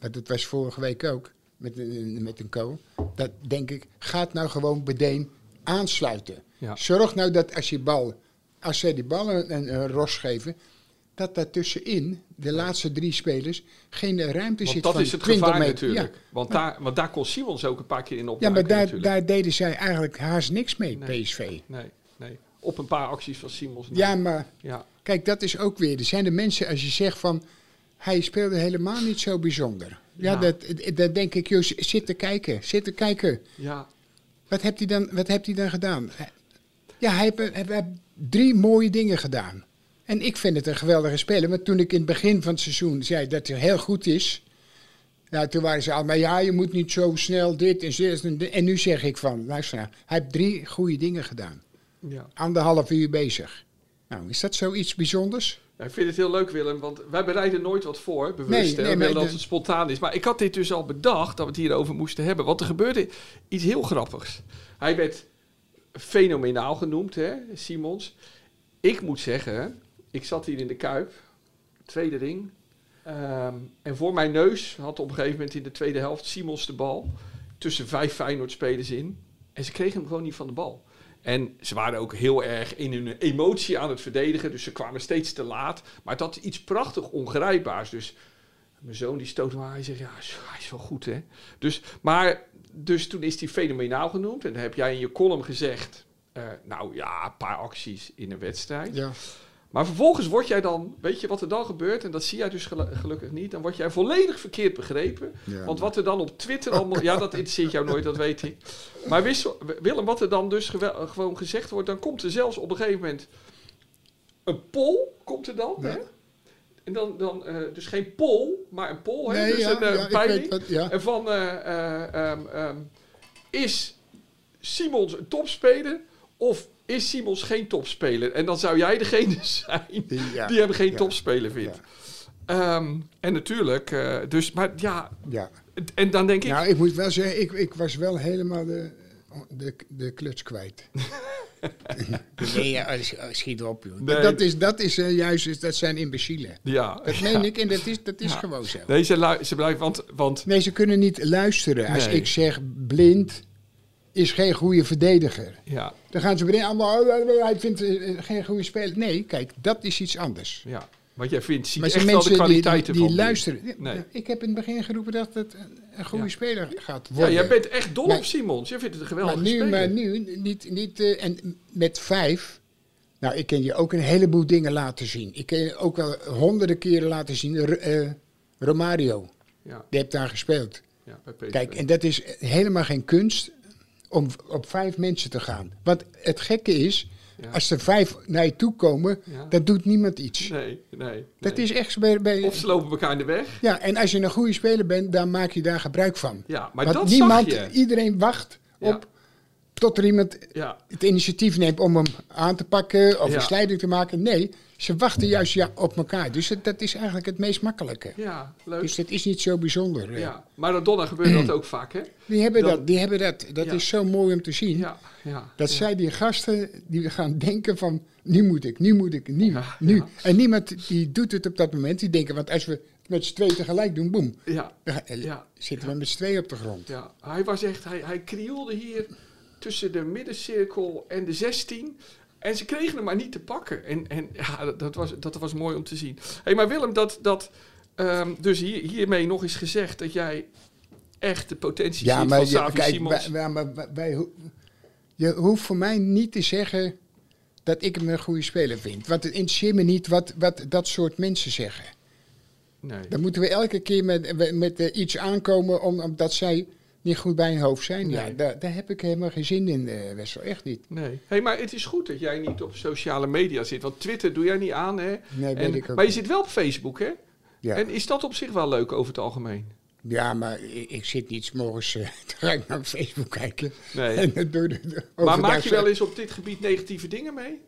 Speaker 1: want het was vorige week ook met, een- met een co, dat denk ik, gaat nou gewoon bedeen aansluiten.
Speaker 2: Ja.
Speaker 1: Zorg nou dat als je bal, als zij die bal een, een- een ros geven, dat daartussenin, de laatste drie spelers, geen ruimte
Speaker 2: want
Speaker 1: zit
Speaker 2: dat
Speaker 1: van
Speaker 2: is het
Speaker 1: 20
Speaker 2: gevaar
Speaker 1: meter.
Speaker 2: natuurlijk.
Speaker 1: Ja.
Speaker 2: Want, daar, want daar kon Simons ook een paar keer in op.
Speaker 1: Ja, maar daar, daar deden zij eigenlijk haast niks mee,
Speaker 2: Nee.
Speaker 1: PSV.
Speaker 2: Nee, nee. Op een paar acties van Simons.
Speaker 1: Ja, maar
Speaker 2: ja.
Speaker 1: Kijk, dat is ook weer. Er zijn de mensen, als je zegt van. Hij speelde helemaal niet zo bijzonder. Ja,
Speaker 2: Ja.
Speaker 1: Dat, dat denk ik, joh, zit te kijken, zit te kijken.
Speaker 2: ja.
Speaker 1: Wat heeft hij dan, wat heeft hij dan gedaan? Hij- Ja, hij heeft, hij heeft drie mooie dingen gedaan. En ik vind het een geweldige speler. Want toen ik in het begin van het seizoen zei dat hij heel goed is. Nou, toen waren ze al, maar ja, je moet niet zo snel dit en zo. en dit." En nu zeg ik van, luister nou, hij heeft drie goede dingen gedaan.
Speaker 2: ja.
Speaker 1: Anderhalf uur bezig. Nou, is dat zoiets bijzonders?
Speaker 2: Ja, ik vind het heel leuk, Willem, want wij bereiden nooit wat voor,
Speaker 1: Nee,
Speaker 2: bewust. hè.
Speaker 1: nee,
Speaker 2: we willen
Speaker 1: maar
Speaker 2: dat
Speaker 1: de-
Speaker 2: het spontaan is. Maar ik had dit dus al bedacht, dat we het hierover moesten hebben. Want er gebeurde iets heel grappigs. Hij werd fenomenaal genoemd, hè, Simons. Ik moet zeggen, ik zat hier in de Kuip, tweede ring. Ehm, en voor mijn neus had op een gegeven moment in de tweede helft Simons de bal. Tussen vijf Feyenoord-spelers in. En ze kregen hem gewoon niet van de bal. En ze waren ook heel erg in hun emotie aan het verdedigen. Dus ze kwamen steeds te laat. Maar het had iets prachtig ongrijpbaars. Dus mijn zoon die stoot me aan. Hij zegt, ja, is- hij is wel goed hè. Dus, maar, dus toen is hij fenomenaal genoemd. En dan heb jij in je column gezegd... eh, nou ja, een paar acties in een wedstrijd.
Speaker 1: Ja.
Speaker 2: Maar vervolgens word jij dan, weet je wat er dan gebeurt, en dat zie jij dus gelu- gelukkig niet, dan word jij volledig verkeerd begrepen.
Speaker 1: Ja.
Speaker 2: want wat er dan op Twitter allemaal, ja, dat interesseert jou nooit, dat weet ik. Maar wist, Willem, wat er dan dus gewe- gewoon gezegd wordt, dan komt er zelfs op een gegeven moment een poll, komt er dan,
Speaker 1: Ja.
Speaker 2: hè? En dan, dan eh, dus geen poll, maar een poll, hè?
Speaker 1: Nee,
Speaker 2: dus
Speaker 1: ja,
Speaker 2: een eh,
Speaker 1: ja, ik
Speaker 2: peiling.
Speaker 1: weet wat- ja.
Speaker 2: En van, eh, eh, ehm, ehm, is Simons een topspeler of is Simons geen topspeler? En dan zou jij degene zijn
Speaker 1: Die- ja.
Speaker 2: die hem geen
Speaker 1: Ja.
Speaker 2: topspeler vindt.
Speaker 1: Ja.
Speaker 2: Ehm, en natuurlijk, eh, dus, maar ja,
Speaker 1: Ja.
Speaker 2: het- en dan denk ik,
Speaker 1: Nou, ik moet wel zeggen, ik, ik was wel helemaal de, de, de kluts kwijt. nee, ja, als- als- schiet op, joh.
Speaker 2: Nee.
Speaker 1: Dat, is, dat is eh, juist, is- dat zijn imbecielen.
Speaker 2: ja.
Speaker 1: Dat meen ik en dat is, dat is
Speaker 2: Ja.
Speaker 1: gewoon zo.
Speaker 2: Nee, ze, lu- ze blijft, want, want
Speaker 1: Nee, ze kunnen niet luisteren. Als
Speaker 2: Nee.
Speaker 1: ik zeg, blind is geen goede verdediger.
Speaker 2: ja,
Speaker 1: Dan gaan ze meteen allemaal, oh, oh, oh, hij vindt eh, geen goede speler. Nee, kijk, dat is iets anders.
Speaker 2: ja, want jij vindt, ziet
Speaker 1: Maar
Speaker 2: echt
Speaker 1: zijn
Speaker 2: wel de
Speaker 1: mensen die, die,
Speaker 2: kwaliteiten
Speaker 1: die
Speaker 2: van
Speaker 1: luisteren. Ja,
Speaker 2: Nee.
Speaker 1: Ik heb in het begin geroepen dat het een- een goede
Speaker 2: Ja.
Speaker 1: speler gaat
Speaker 2: Ja,
Speaker 1: worden.
Speaker 2: jij bent echt dol
Speaker 1: Nee.
Speaker 2: op Simons. Je vindt het een geweldige
Speaker 1: Maar nu,
Speaker 2: speler.
Speaker 1: maar nu niet, niet eh, en met vijf. Nou, ik kan je ook een heleboel dingen laten zien. Ik kan je ook wel honderden keren laten zien. R- eh, Romario,
Speaker 2: Ja,
Speaker 1: die hebt daar gespeeld.
Speaker 2: ja, bij PSV.
Speaker 1: Kijk, en dat is helemaal geen kunst om v- op vijf mensen te gaan. Want het gekke is,
Speaker 2: Ja.
Speaker 1: als er vijf naar je toe komen,
Speaker 2: Ja.
Speaker 1: dat doet niemand iets.
Speaker 2: nee, nee,
Speaker 1: Dat
Speaker 2: nee.
Speaker 1: is echt bij, bij-
Speaker 2: Of ze lopen elkaar in de weg.
Speaker 1: ja, en als je een goede speler bent, dan maak je daar gebruik van.
Speaker 2: Ja, maar
Speaker 1: Want
Speaker 2: dat
Speaker 1: niemand,
Speaker 2: zag je.
Speaker 1: iedereen wacht
Speaker 2: Ja.
Speaker 1: op Tot er iemand
Speaker 2: Ja,
Speaker 1: het initiatief neemt om hem aan te pakken of
Speaker 2: Ja.
Speaker 1: een slijder te maken. Nee, ze wachten juist ja, op elkaar. Dus het- dat is eigenlijk het meest makkelijke.
Speaker 2: ja leuk.
Speaker 1: Dus dat is niet zo bijzonder. eh.
Speaker 2: ja. Maradona gebeurde dat ook vaak, hè?
Speaker 1: Die hebben
Speaker 2: Dat-
Speaker 1: dat, die hebben dat. dat
Speaker 2: Ja.
Speaker 1: is zo mooi om te zien.
Speaker 2: Ja, ja.
Speaker 1: Dat zij die gasten die gaan denken van nu moet ik, nu moet ik, nu,
Speaker 2: Ja,
Speaker 1: nu.
Speaker 2: ja.
Speaker 1: En niemand die doet het op dat moment. Die denken, want als we het met z'n twee tegelijk doen, boem.
Speaker 2: Ja,
Speaker 1: dan ga- eh,
Speaker 2: Ja.
Speaker 1: Zitten we met z'n tweeën op de grond.
Speaker 2: ja. Hij was echt, hij, hij krioelde hier tussen de middencirkel en de 16. En ze kregen hem maar niet te pakken. En, en ja, dat, dat was, dat was mooi om te zien. Hé, hey, maar Willem, dat, dat, ehm, dus hier, hiermee nog eens gezegd dat jij echt de potentie ziet van Savi Simons.
Speaker 1: wij, wij- maar wij- wij ho- je hoeft voor mij niet te zeggen dat ik hem een goede speler vind. Want het interesseert me niet wat, wat dat soort mensen zeggen.
Speaker 2: nee.
Speaker 1: Dan moeten we elke keer met, met, eh, iets aankomen om- omdat zij niet goed bij hun hoofd zijn. Ja,
Speaker 2: Nee.
Speaker 1: daar, daar heb ik helemaal geen zin in, eh Wessel. Echt niet.
Speaker 2: Nee. Hey, maar het is goed dat jij niet op sociale media zit. Want Twitter doe jij niet aan, hè?
Speaker 1: Nee, weet
Speaker 2: En-
Speaker 1: ik ook
Speaker 2: maar je
Speaker 1: niet.
Speaker 2: zit wel op Facebook, hè?
Speaker 1: Ja.
Speaker 2: En is dat op zich wel leuk over het algemeen?
Speaker 1: Ja, maar ik, ik zit niet 's morgens eh, te ga ik naar Facebook kijken.
Speaker 2: Nee.
Speaker 1: En dan door de, de-
Speaker 2: maar
Speaker 1: overdag
Speaker 2: maak je
Speaker 1: zo-
Speaker 2: wel eens op dit gebied negatieve dingen mee?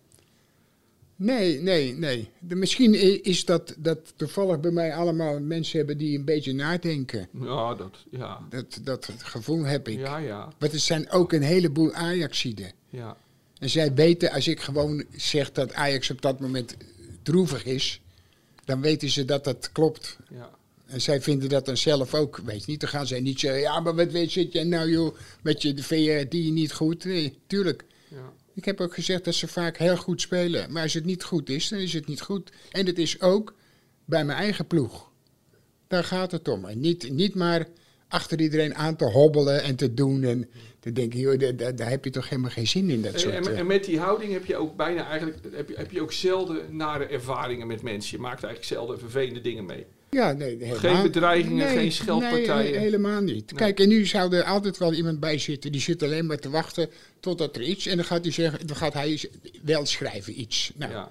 Speaker 1: Nee, nee, nee. De- misschien i- is dat dat toevallig bij mij allemaal mensen hebben die een beetje nadenken.
Speaker 2: Ja, dat, ja.
Speaker 1: Dat, dat gevoel heb ik.
Speaker 2: Ja, ja,
Speaker 1: Want het zijn ook een heleboel Ajaxiden.
Speaker 2: ja.
Speaker 1: En zij weten, als ik gewoon zeg dat Ajax op dat moment droevig is, dan weten ze dat dat klopt.
Speaker 2: ja.
Speaker 1: En zij vinden dat dan zelf ook, weet je niet. Dan gaan zij niet zeggen, ja, maar wat weet, zit jij nou joh, met je VR die niet goed. Nee, tuurlijk.
Speaker 2: ja.
Speaker 1: Ik heb ook gezegd dat ze vaak heel goed spelen. Maar als het niet goed is, dan is het niet goed. En dat is ook bij mijn eigen ploeg. Daar gaat het om. En niet, niet maar achter iedereen aan te hobbelen en te doen. En te denken, joh, daar, daar- daar heb je toch helemaal geen zin in, dat
Speaker 2: En,
Speaker 1: soort...
Speaker 2: en,
Speaker 1: eh.
Speaker 2: en met die houding heb je ook bijna eigenlijk heb je, heb je ook zelden nare ervaringen met mensen. Je maakt eigenlijk zelden vervelende dingen mee.
Speaker 1: Ja, nee, helemaal-
Speaker 2: Geen bedreigingen, geen
Speaker 1: Nee,
Speaker 2: scheldpartijen.
Speaker 1: he- helemaal niet. Kijk, en nu zou er altijd wel iemand bij zitten. Die zit alleen maar te wachten totdat er iets... En dan gaat hij, zeggen, dan gaat hij z- wel schrijven iets. Nou,
Speaker 2: Ja,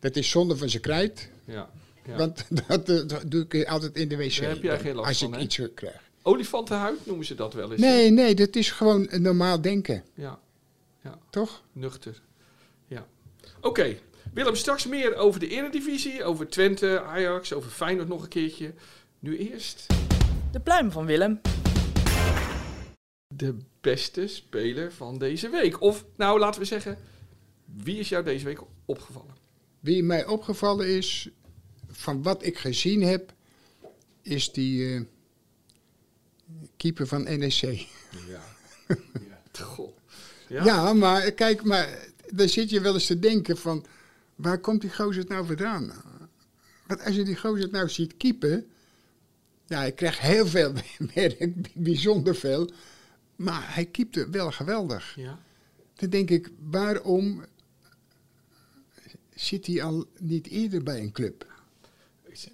Speaker 1: dat is zonde van zijn krijt.
Speaker 2: ja, ja.
Speaker 1: Want dat, eh, dat doe ik altijd in de wc.
Speaker 2: Daar heb jij
Speaker 1: dan,
Speaker 2: geen last
Speaker 1: Als
Speaker 2: van,
Speaker 1: ik
Speaker 2: hè?
Speaker 1: iets eh, krijg.
Speaker 2: Olifantenhuid noemen ze dat wel eens.
Speaker 1: Nee, nee, dat is gewoon een normaal denken,
Speaker 2: Ja,
Speaker 1: toch?
Speaker 2: nuchter. Ja. Oké, Willem, straks meer over de Eredivisie, over Twente, Ajax, over Feyenoord nog een keertje. Nu eerst
Speaker 3: De pluim van Willem.
Speaker 2: de beste speler van deze week. Of, nou, laten we zeggen, wie is jou deze week opgevallen?
Speaker 1: Wie mij opgevallen is, van wat ik gezien heb, is die eh, keeper van E NEC.
Speaker 2: Goh.
Speaker 1: Ja.
Speaker 2: Ja.
Speaker 1: maar eh, kijk, maar dan zit je wel eens te denken van, waar komt die gozer het nou vandaan? Want als je die gozer het nou ziet keepen, ja, hij krijgt heel veel werk, bijzonder veel, maar hij keepte wel geweldig.
Speaker 2: Ja.
Speaker 1: Dan denk ik, waarom zit hij al niet eerder bij een club?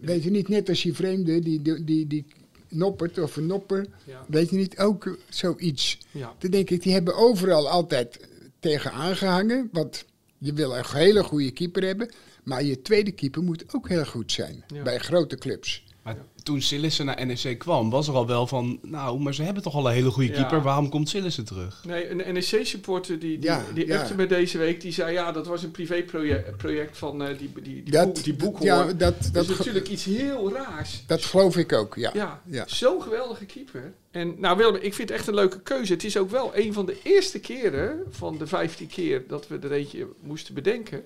Speaker 1: Weet je niet, net als die vreemde, die, die, die, die noppert of een nopper,
Speaker 2: Ja.
Speaker 1: weet je niet, ook zoiets.
Speaker 2: Ja.
Speaker 1: Dan denk ik, die hebben overal altijd tegen aangehangen, want je wil een hele goede keeper hebben, maar je tweede keeper moet ook heel goed zijn,
Speaker 2: Ja.
Speaker 1: bij grote clubs.
Speaker 4: Maar toen Sillissen naar NEC kwam, was er al wel van... Nou, maar ze hebben toch al een hele goede
Speaker 2: Ja.
Speaker 4: keeper. Waarom komt Sillissen terug?
Speaker 2: Nee, een NEC-supporter die, die,
Speaker 1: Ja,
Speaker 2: die
Speaker 1: ja.
Speaker 2: appte me deze week. Die zei, ja, dat was een privéproject project van eh, die, die, die,
Speaker 1: Dat-
Speaker 2: boek, die boekhoorn.
Speaker 1: ja, dat-
Speaker 2: dat
Speaker 1: dat
Speaker 2: is
Speaker 1: ge-
Speaker 2: natuurlijk iets heel raars.
Speaker 1: Dat geloof ik ook, ja.
Speaker 2: Ja,
Speaker 1: Ja.
Speaker 2: zo'n geweldige keeper. En nou Willem, ik vind het echt een leuke keuze. Het is ook wel een van de eerste keren van de 15 keer dat we er eentje moesten bedenken.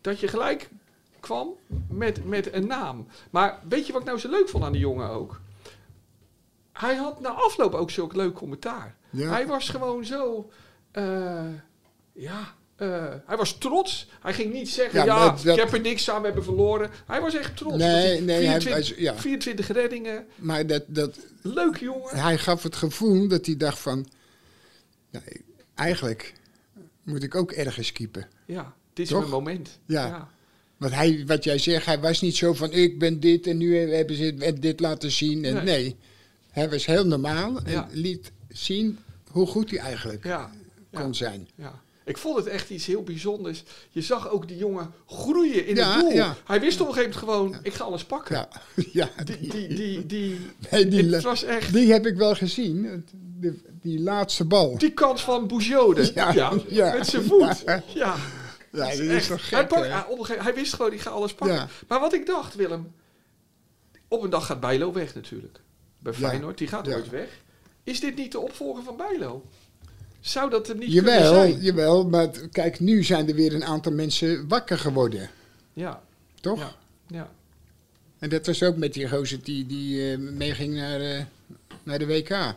Speaker 2: Dat je gelijk kwam met, met een naam. Maar weet je wat ik nou zo leuk vond aan die jongen ook? Hij had na afloop ook zulk leuk commentaar.
Speaker 1: Ja.
Speaker 2: Hij was gewoon zo... eh, ja, eh, hij was trots. Hij ging niet zeggen, ja,
Speaker 1: Ja, maar dat-
Speaker 2: ik heb er niks aan, we hebben verloren. Hij was echt trots.
Speaker 1: Nee,
Speaker 2: Dat hij
Speaker 1: nee, hij
Speaker 2: 24
Speaker 1: was- ja.
Speaker 2: 24 reddingen.
Speaker 1: Maar dat, dat,
Speaker 2: Leuk jongen.
Speaker 1: hij gaf het gevoel dat hij dacht van... Nou, eigenlijk moet ik ook ergens keepen.
Speaker 2: Ja, dit is
Speaker 1: Toch?
Speaker 2: mijn moment.
Speaker 1: Ja. Want hij, wat jij zegt, hij was niet zo van... ik ben dit en nu hebben ze het- dit laten zien. En
Speaker 2: Nee.
Speaker 1: nee. hij was heel normaal en
Speaker 2: Ja.
Speaker 1: liet zien hoe goed hij eigenlijk
Speaker 2: Ja.
Speaker 1: kon
Speaker 2: Ja.
Speaker 1: zijn.
Speaker 2: Ja. Ik vond het echt iets heel bijzonders. Je zag ook die jongen groeien in
Speaker 1: Ja,
Speaker 2: het doel.
Speaker 1: ja.
Speaker 2: Hij wist op een gegeven moment gewoon, ik ga alles pakken.
Speaker 1: Ja, ja
Speaker 2: Die, die, die, die,
Speaker 1: Nee, die
Speaker 2: het
Speaker 1: le-
Speaker 2: was echt...
Speaker 1: die heb ik wel gezien. Het- de- die laatste bal.
Speaker 2: Die kans van Bougiode. Ja,
Speaker 1: Ja, ja.
Speaker 2: met zijn voet. Ja.
Speaker 1: Ja. Ja, dat
Speaker 2: Echt.
Speaker 1: is toch
Speaker 2: hij,
Speaker 1: gek,
Speaker 2: pakt-
Speaker 1: hè?
Speaker 2: hij- op een gegeven- hij wist gewoon, die gaat alles pakken.
Speaker 1: Ja.
Speaker 2: Maar wat ik dacht, Willem... Op een dag gaat Bijlo weg natuurlijk. Bij
Speaker 1: Ja.
Speaker 2: Feyenoord, die gaat
Speaker 1: Ja.
Speaker 2: nooit weg. Is dit niet de opvolger van Bijlo? Zou dat hem niet kunnen
Speaker 1: Jawel,
Speaker 2: zijn?
Speaker 1: jawel, maar t- kijk, nu zijn er weer een aantal mensen wakker geworden,
Speaker 2: Ja,
Speaker 1: toch?
Speaker 2: Ja. ja.
Speaker 1: En dat was ook met die gozer die, die eh, meeging naar, eh, naar de WK.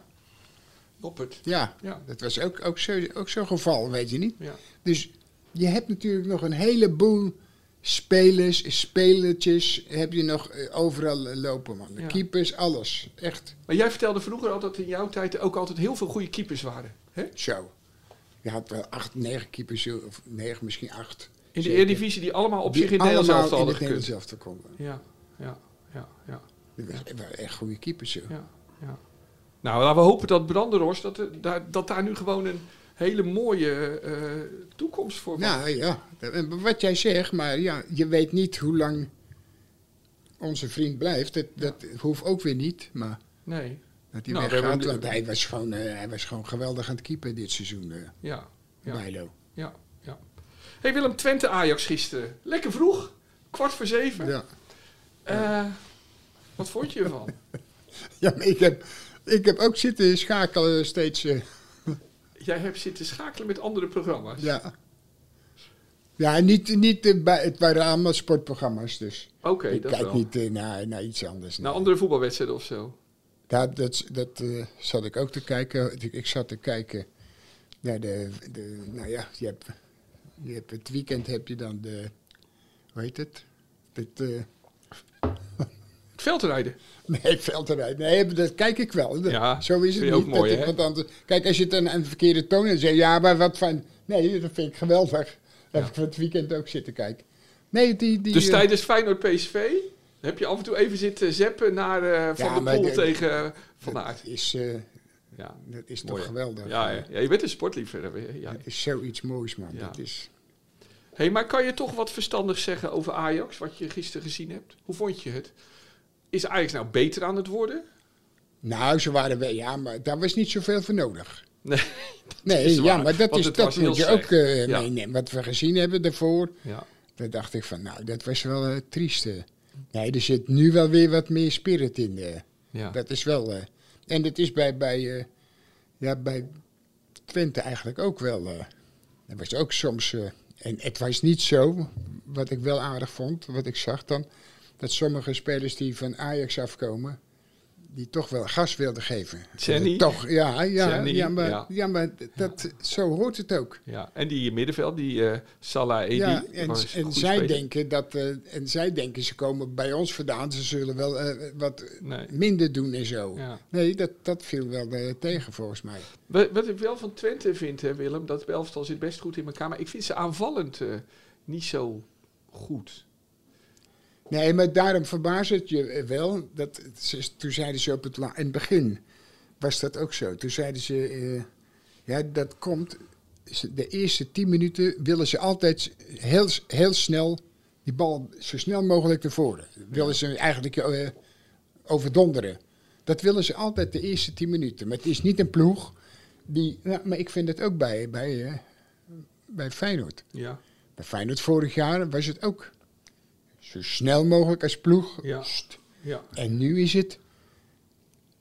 Speaker 2: Noppert.
Speaker 1: Ja,
Speaker 2: Ja.
Speaker 1: dat was ook, ook zo'n ook zo'n geval, weet je niet?
Speaker 2: Ja.
Speaker 1: Dus je hebt natuurlijk nog een heleboel spelers, spelertjes, heb je nog eh, overal eh, lopen, man. De
Speaker 2: Ja.
Speaker 1: keepers, alles. Echt
Speaker 2: Maar jij vertelde vroeger al dat in jouw tijd ook altijd heel veel goede keepers waren. Hè?
Speaker 1: zo. Je had wel acht, negen keepers, of negen, misschien acht.
Speaker 2: In de
Speaker 1: Zeker.
Speaker 2: Eredivisie die allemaal op zich in
Speaker 1: Die
Speaker 2: Nederland zelf
Speaker 1: allemaal in
Speaker 2: hadden
Speaker 1: het Nederlands
Speaker 2: gekund.
Speaker 1: elftal konden.
Speaker 2: Ja, ja, ja, ja.
Speaker 1: Dat waren- dat waren echt goede keepers, joh.
Speaker 2: Ja, ja. Nou, laten we hopen dat Branderos, dat, er- daar, dat daar nu gewoon een hele mooie eh, toekomst voor wordt.
Speaker 1: Nou ja, dat- wat jij zegt, maar ja, je weet niet hoe lang onze vriend blijft. Dat, dat hoeft ook weer niet, maar
Speaker 2: Nee,
Speaker 1: dat hij
Speaker 2: Nou,
Speaker 1: weggaat.
Speaker 2: we hebben-
Speaker 1: Want hij was, gewoon, eh, hij was gewoon geweldig aan het keeper dit seizoen, eh
Speaker 2: ja, ja,
Speaker 1: Bijlo.
Speaker 2: ja, ja. hey Willem, Twente Ajax gisteren. Lekker vroeg, kwart voor zeven.
Speaker 1: Ja.
Speaker 2: Eh, wat vond je ervan?
Speaker 1: Ja, maar ik heb, ik heb ook zitten schakelen steeds. eh,
Speaker 2: Jij hebt zitten schakelen met andere programma's.
Speaker 1: ja. Ja, niet, niet eh, bij, het waren allemaal sportprogramma's, dus
Speaker 2: Oké,
Speaker 1: ik
Speaker 2: dat
Speaker 1: kijk
Speaker 2: wel.
Speaker 1: niet eh, naar, naar iets anders.
Speaker 2: Naar
Speaker 1: nee.
Speaker 2: andere voetbalwedstrijden of zo.
Speaker 1: Ja, dat, dat eh, zat ik ook te kijken. Ik, ik zat te kijken naar de, de nou ja, je hebt, je hebt het weekend heb je dan de, hoe heet het? Dit, eh,
Speaker 2: Het veldrijden.
Speaker 1: nee, veldrijd. Nee, maar dat kijk ik wel. Dat-
Speaker 2: Ja,
Speaker 1: zo is
Speaker 2: vind
Speaker 1: het
Speaker 2: je
Speaker 1: niet.
Speaker 2: ook mooi,
Speaker 1: dat ik
Speaker 2: hè?
Speaker 1: wat anders, kijk, als je het aan aan de verkeerde toon en zegt, ja, maar wat van, nee, dat vind ik geweldig. Dat heb ik van het weekend ook zitten kijken. Nee, die, die.
Speaker 2: Dus
Speaker 1: eh,
Speaker 2: tijdens Feyenoord PSV heb je af en toe even zitten zeppen naar eh,
Speaker 1: Ja,
Speaker 2: Van de
Speaker 1: maar
Speaker 2: der Poel
Speaker 1: de-
Speaker 2: tegen eh, Van
Speaker 1: dat
Speaker 2: Aert.
Speaker 1: is, eh,
Speaker 2: Ja.
Speaker 1: dat eh, is
Speaker 2: Mooi,
Speaker 1: toch
Speaker 2: hè?
Speaker 1: geweldig.
Speaker 2: Ja, ja. Ja, je bent een sportliefhebber. hè? Ja.
Speaker 1: Dat is zoiets moois, man.
Speaker 2: Ja.
Speaker 1: Dat is.
Speaker 2: Hey, maar kan je toch wat verstandig zeggen over Ajax, wat je gisteren gezien hebt? Hoe vond je het? Is Ajax nou beter aan het worden?
Speaker 1: Nou, ze waren wel, ja, maar daar was niet zoveel voor nodig.
Speaker 2: Nee. is
Speaker 1: Nee,
Speaker 2: waar,
Speaker 1: ja, maar dat,
Speaker 2: want
Speaker 1: is,
Speaker 2: het was
Speaker 1: dat
Speaker 2: heel
Speaker 1: moet je
Speaker 2: slecht.
Speaker 1: ook eh,
Speaker 2: Ja.
Speaker 1: meenemen. Wat we gezien hebben daarvoor,
Speaker 2: Ja.
Speaker 1: daar dacht ik van, nou, dat was wel eh, triest. eh. Nee, er zit nu wel weer wat meer spirit in. eh.
Speaker 2: ja.
Speaker 1: Dat is wel. eh, en dat is bij, bij, eh, ja, bij Twente eigenlijk ook wel. eh. dat was ook soms. eh, en het was niet zo, wat ik wel aardig vond, wat ik zag dan, dat sommige spelers die van Ajax afkomen, die toch wel gas wilden geven.
Speaker 2: Tjenny?
Speaker 1: Toch, ja, ja,
Speaker 2: Tjenny,
Speaker 1: ja, maar,
Speaker 2: ja.
Speaker 1: ja. maar dat, zo hoort het ook.
Speaker 2: ja. En die middenveld, die eh Salah Edi.
Speaker 1: Ja,
Speaker 2: was een
Speaker 1: en,
Speaker 2: goede
Speaker 1: en, zij
Speaker 2: speler.
Speaker 1: denken dat, eh, en zij denken ze komen bij ons vandaan, ze zullen wel eh, wat
Speaker 2: Nee.
Speaker 1: minder doen en zo.
Speaker 2: Ja.
Speaker 1: Nee, dat, dat viel wel eh, tegen volgens mij.
Speaker 2: Wat, wat ik wel van Twente vind, hè, Willem, dat elftal zit best goed in elkaar. Maar ik vind ze aanvallend eh, niet zo goed.
Speaker 1: Nee, maar daarom verbaast het je eh, wel. Dat, ze- toen zeiden ze op het, la- in het begin, was dat ook zo. Toen zeiden ze, eh, ja, dat komt. ze- De eerste tien minuten willen ze altijd heel, s- heel snel die bal zo snel mogelijk naar voren. Willen ze eigenlijk eh, overdonderen. Dat willen ze altijd de eerste tien minuten. Maar het is niet een ploeg die. Nou, maar ik vind het ook bij, bij, eh, bij Feyenoord.
Speaker 2: Ja.
Speaker 1: Bij Feyenoord vorig jaar was het ook zo snel mogelijk als ploeg.
Speaker 2: Ja.
Speaker 1: Sst.
Speaker 2: ja.
Speaker 1: En nu is het...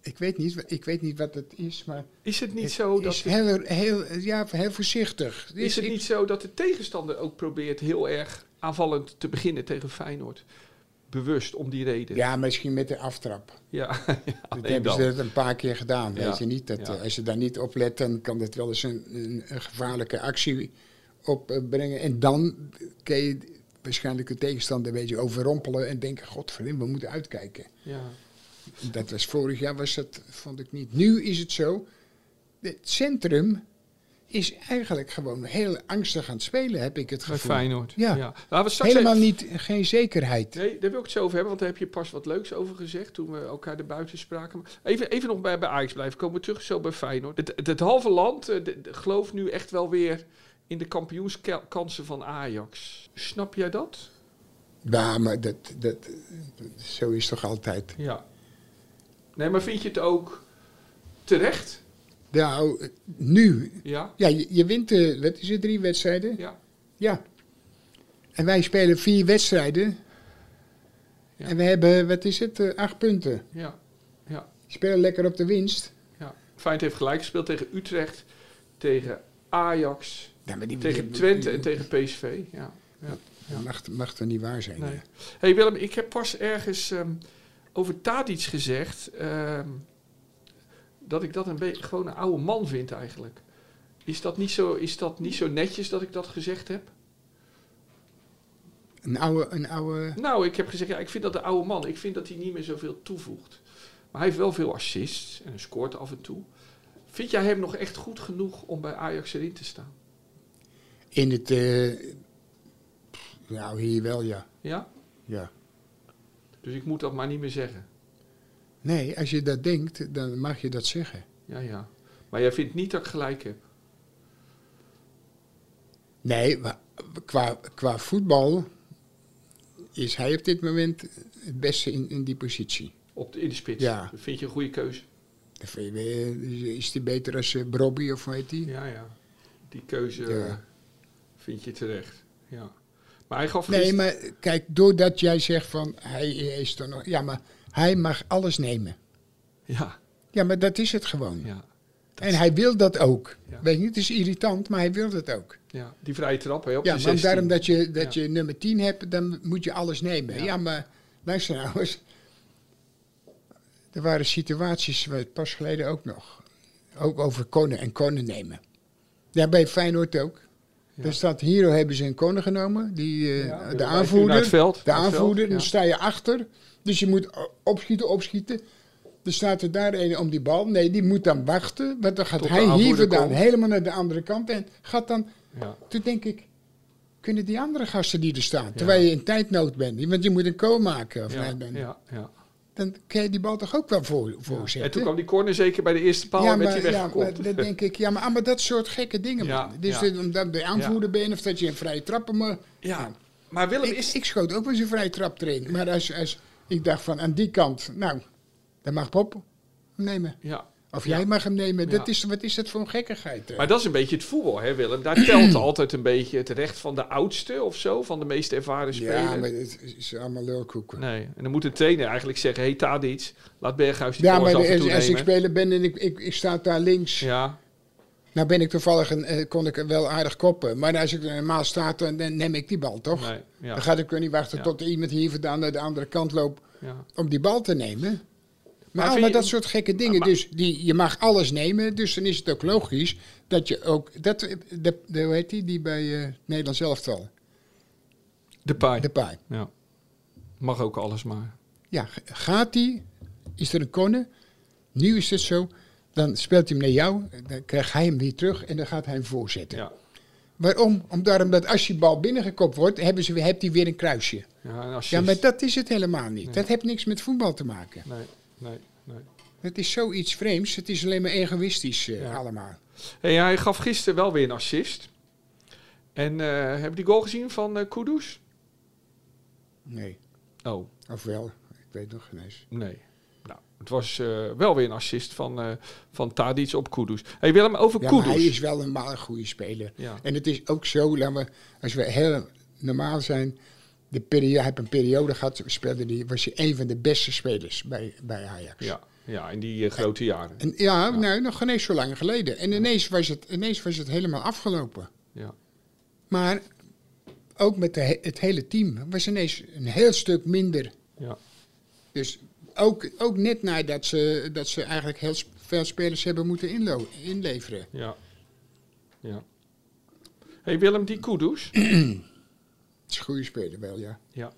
Speaker 1: Ik weet niet, ik weet niet wat het is, maar...
Speaker 2: Is het niet
Speaker 1: het
Speaker 2: zo dat...
Speaker 1: is heel, heel, ja, heel voorzichtig. Dus
Speaker 2: Is het
Speaker 1: ik-
Speaker 2: niet zo dat de tegenstander ook probeert heel erg aanvallend te beginnen tegen Feyenoord? Bewust om die reden.
Speaker 1: Ja, misschien met de aftrap.
Speaker 2: ja.
Speaker 1: Dat
Speaker 2: alleen
Speaker 1: hebben
Speaker 2: dan.
Speaker 1: ze dat een paar keer gedaan,
Speaker 2: Ja.
Speaker 1: weet je niet. Dat,
Speaker 2: Ja.
Speaker 1: eh, Als je daar niet op let, dan kan dat wel eens een, een, een gevaarlijke actie opbrengen. En dan kun je waarschijnlijk de tegenstander een beetje overrompelen... en denken, godverdomme, we moeten uitkijken.
Speaker 2: Ja.
Speaker 1: Dat was vorig jaar, was dat, vond ik niet. Nu is het zo, het centrum is eigenlijk gewoon heel angstig aan het spelen, heb ik het
Speaker 2: Bij
Speaker 1: gevoel.
Speaker 2: Feyenoord.
Speaker 1: Ja.
Speaker 2: Laten we straks
Speaker 1: Helemaal
Speaker 2: even-
Speaker 1: niet, geen zekerheid.
Speaker 2: Nee, daar wil ik het zo over hebben, want daar heb je pas wat leuks over gezegd toen we elkaar erbuiten spraken. Maar Even, even nog bij, bij Ajax blijven komen, we terug zo bij Feyenoord. Het, het, het halve land eh, de- de- gelooft nu echt wel weer in de kampioenskansen van Ajax. Snap jij dat?
Speaker 1: Ja, maar dat, dat, zo is toch altijd.
Speaker 2: Ja. Nee, maar vind je het ook terecht?
Speaker 1: Nou, nu.
Speaker 2: Ja?
Speaker 1: Ja, je, je wint, eh, wat is het, drie wedstrijden?
Speaker 2: Ja.
Speaker 1: Ja. En wij spelen vier wedstrijden.
Speaker 2: Ja.
Speaker 1: En we hebben, wat is het, eh, acht punten.
Speaker 2: Ja. Ja.
Speaker 1: Spelen lekker op de winst.
Speaker 2: ja. Feyenoord heeft gelijk gespeeld tegen Utrecht, tegen Ajax,
Speaker 1: Ja, maar die-
Speaker 2: tegen
Speaker 1: die-
Speaker 2: Twente en tegen PSV. Ja. ja.
Speaker 1: Dat mag, mag toch niet waar zijn?
Speaker 2: Nee.
Speaker 1: hè?
Speaker 2: hey Willem, ik heb pas ergens ehm, over Tadic gezegd ehm, dat ik dat een beetje gewoon een oude man vind eigenlijk. Is dat, niet zo, is dat niet zo netjes dat ik dat gezegd heb?
Speaker 1: Een oude, een oude...
Speaker 2: Nou, ik heb gezegd, ja, ik vind dat de oude man. Ik vind dat hij niet meer zoveel toevoegt. Maar hij heeft wel veel assists en hij scoort af en toe. Vind jij hem nog echt goed genoeg om bij Ajax erin te staan?
Speaker 1: In het... eh, pff, nou, hier wel, ja.
Speaker 2: Ja?
Speaker 1: ja.
Speaker 2: Dus ik moet dat maar niet meer zeggen.
Speaker 1: Nee, als je dat denkt, dan mag je dat zeggen.
Speaker 2: Ja, ja. Maar jij vindt niet dat ik gelijk heb.
Speaker 1: Nee, wa- qua, qua voetbal is hij op dit moment het beste in, in die positie.
Speaker 2: Op de, in de spits.
Speaker 1: Ja.
Speaker 2: Dat vind je een goede keuze.
Speaker 1: Dan vind je, eh, Is hij beter als eh, Brobby of hoe heet die?
Speaker 2: Ja, ja. Die keuze
Speaker 1: Ja.
Speaker 2: eh, vind je terecht. Ja. Maar hij gaf
Speaker 1: Nee,
Speaker 2: gisteren-
Speaker 1: maar kijk, doordat jij zegt van hij is er nog. Ja, maar hij mag alles nemen.
Speaker 2: Ja,
Speaker 1: Ja, maar dat is het gewoon.
Speaker 2: ja,
Speaker 1: en hij wil dat ook.
Speaker 2: Ja.
Speaker 1: Weet je, het is irritant, maar hij wil dat ook.
Speaker 2: ja. Die vrije trap, hè, op
Speaker 1: Ja,
Speaker 2: de
Speaker 1: want
Speaker 2: 16.
Speaker 1: daarom dat je, dat
Speaker 2: Ja.
Speaker 1: je nummer 10 hebt, dan moet je alles nemen.
Speaker 2: Ja.
Speaker 1: Ja, maar luister nou eens. Er waren situaties eh, pas geleden ook nog. Ook over konen en konen nemen. Ja, bij Feyenoord ook.
Speaker 2: Ja.
Speaker 1: Daar staat Hero hebben ze een konen genomen. Die, eh,
Speaker 2: Ja,
Speaker 1: de
Speaker 2: ja,
Speaker 1: aanvoerder.
Speaker 2: naar het veld,
Speaker 1: De
Speaker 2: naar het
Speaker 1: aanvoerder.
Speaker 2: veld,
Speaker 1: Dan
Speaker 2: ja.
Speaker 1: sta je achter. Dus je moet o- opschieten, opschieten. Dan staat er daar een om die bal. Nee, die moet dan wachten. Want dan gaat
Speaker 2: Tot de
Speaker 1: hij hier
Speaker 2: aanvoerder
Speaker 1: vandaan
Speaker 2: komt.
Speaker 1: helemaal naar de andere kant. En gaat dan
Speaker 2: Ja.
Speaker 1: toen denk ik, kunnen die andere gasten die er staan, terwijl je in tijdnood bent, want je moet een kool maken, of
Speaker 2: Ja,
Speaker 1: nou, dan,
Speaker 2: ja, ja.
Speaker 1: dan kan je die bal toch ook wel voor,
Speaker 2: En toen
Speaker 1: voorzetten?
Speaker 2: kwam die corner zeker bij de eerste paal en werd hij
Speaker 1: ja,
Speaker 2: weggekopt.
Speaker 1: maar dan denk ik, ja, maar, ah, maar dat soort gekke dingen.
Speaker 2: Ja,
Speaker 1: man. Dus
Speaker 2: ja.
Speaker 1: dat- omdat je aanvoerder bent of dat je een vrije trappen mag.
Speaker 2: Ja, maar Willem
Speaker 1: Ik,
Speaker 2: is...
Speaker 1: ik schoot ook wel eens een vrije trap erin. Maar als, als ik dacht van aan die kant, nou, dan mag Bob hem nemen.
Speaker 2: Ja,
Speaker 1: Of jij mag hem nemen. Dat
Speaker 2: Ja.
Speaker 1: is, wat is dat voor een gekkigheid? hè?
Speaker 2: maar dat is een beetje het voetbal, hè Willem? Daar telt altijd een beetje het recht van de oudste of zo, van de meest ervaren speler.
Speaker 1: ja, maar het is allemaal lulkoeken.
Speaker 2: Nee, en dan moet de trainer eigenlijk zeggen, hey Tadic, laat Berghuis die
Speaker 1: Ja, maar
Speaker 2: corners af en
Speaker 1: als,
Speaker 2: toe
Speaker 1: als ik
Speaker 2: nemen.
Speaker 1: speler ben en ik, ik, ik sta daar links.
Speaker 2: Ja,
Speaker 1: Nou ben ik toevallig, een, eh, kon ik wel aardig koppen. Maar als ik er normaal sta, dan dan neem ik die bal toch?
Speaker 2: nee, ja,
Speaker 1: Dan ga ik er niet wachten
Speaker 2: Ja.
Speaker 1: tot er iemand hier vandaan naar de andere kant loopt
Speaker 2: ja.
Speaker 1: om die bal te nemen.
Speaker 2: Maar
Speaker 1: Maar,
Speaker 2: vind
Speaker 1: allemaal
Speaker 2: je- Ah,
Speaker 1: dat soort gekke dingen.
Speaker 2: maar-
Speaker 1: dus die, je mag alles nemen. Dus dan is het ook logisch dat je ook... Dat, de, de, hoe heet die? Die bij eh Nederlands elftal.
Speaker 2: De paai.
Speaker 1: De paai.
Speaker 2: Ja. Mag ook alles maar.
Speaker 1: Ja, g- gaat hij? Is er een konnen? Nu is het zo. Dan speelt hij hem naar jou. Dan krijgt hij hem weer terug en dan gaat hij hem voorzetten.
Speaker 2: Ja.
Speaker 1: Waarom? Omdat, omdat als je bal binnengekopt wordt, hebben ze, weer- heeft hij weer een kruisje.
Speaker 2: Ja, en assist.
Speaker 1: Ja, maar dat is het helemaal niet.
Speaker 2: Nee.
Speaker 1: Dat heeft niks met voetbal te maken.
Speaker 2: Nee, nee, nee.
Speaker 1: Het is zoiets vreemds. Het is alleen maar egoïstisch eh,
Speaker 2: Ja.
Speaker 1: allemaal.
Speaker 2: Hey, hij gaf gisteren wel weer een assist. En eh heb je die goal gezien van eh Kudus?
Speaker 1: Nee.
Speaker 2: Oh,
Speaker 1: Of wel. Ik weet nog geen eens.
Speaker 2: nee. Nou, het was eh, wel weer een assist van, eh van Tadic op Kudus. Hey Willem, over
Speaker 1: Ja, maar
Speaker 2: Kudus.
Speaker 1: hij is wel een maar een goede speler.
Speaker 2: Ja.
Speaker 1: En het is ook zo, laten we, als we heel normaal zijn. De periode, hij heeft een periode gehad, speelde die, was hij een van de beste spelers bij, bij Ajax.
Speaker 2: Ja, ja, in die eh, grote jaren.
Speaker 1: En, ja, Nou, nog geen eens zo lang geleden. En ineens was het, ineens was het helemaal afgelopen.
Speaker 2: Ja,
Speaker 1: Maar ook met de he- het hele team was ineens een heel stuk minder.
Speaker 2: ja,
Speaker 1: Dus ook, ook net nadat ze, dat ze eigenlijk heel sp- veel spelers hebben moeten inlo- inleveren.
Speaker 2: ja. ja. Hey Willem, die Kudus.
Speaker 1: Het is een goede speler wel, ja.
Speaker 2: ja,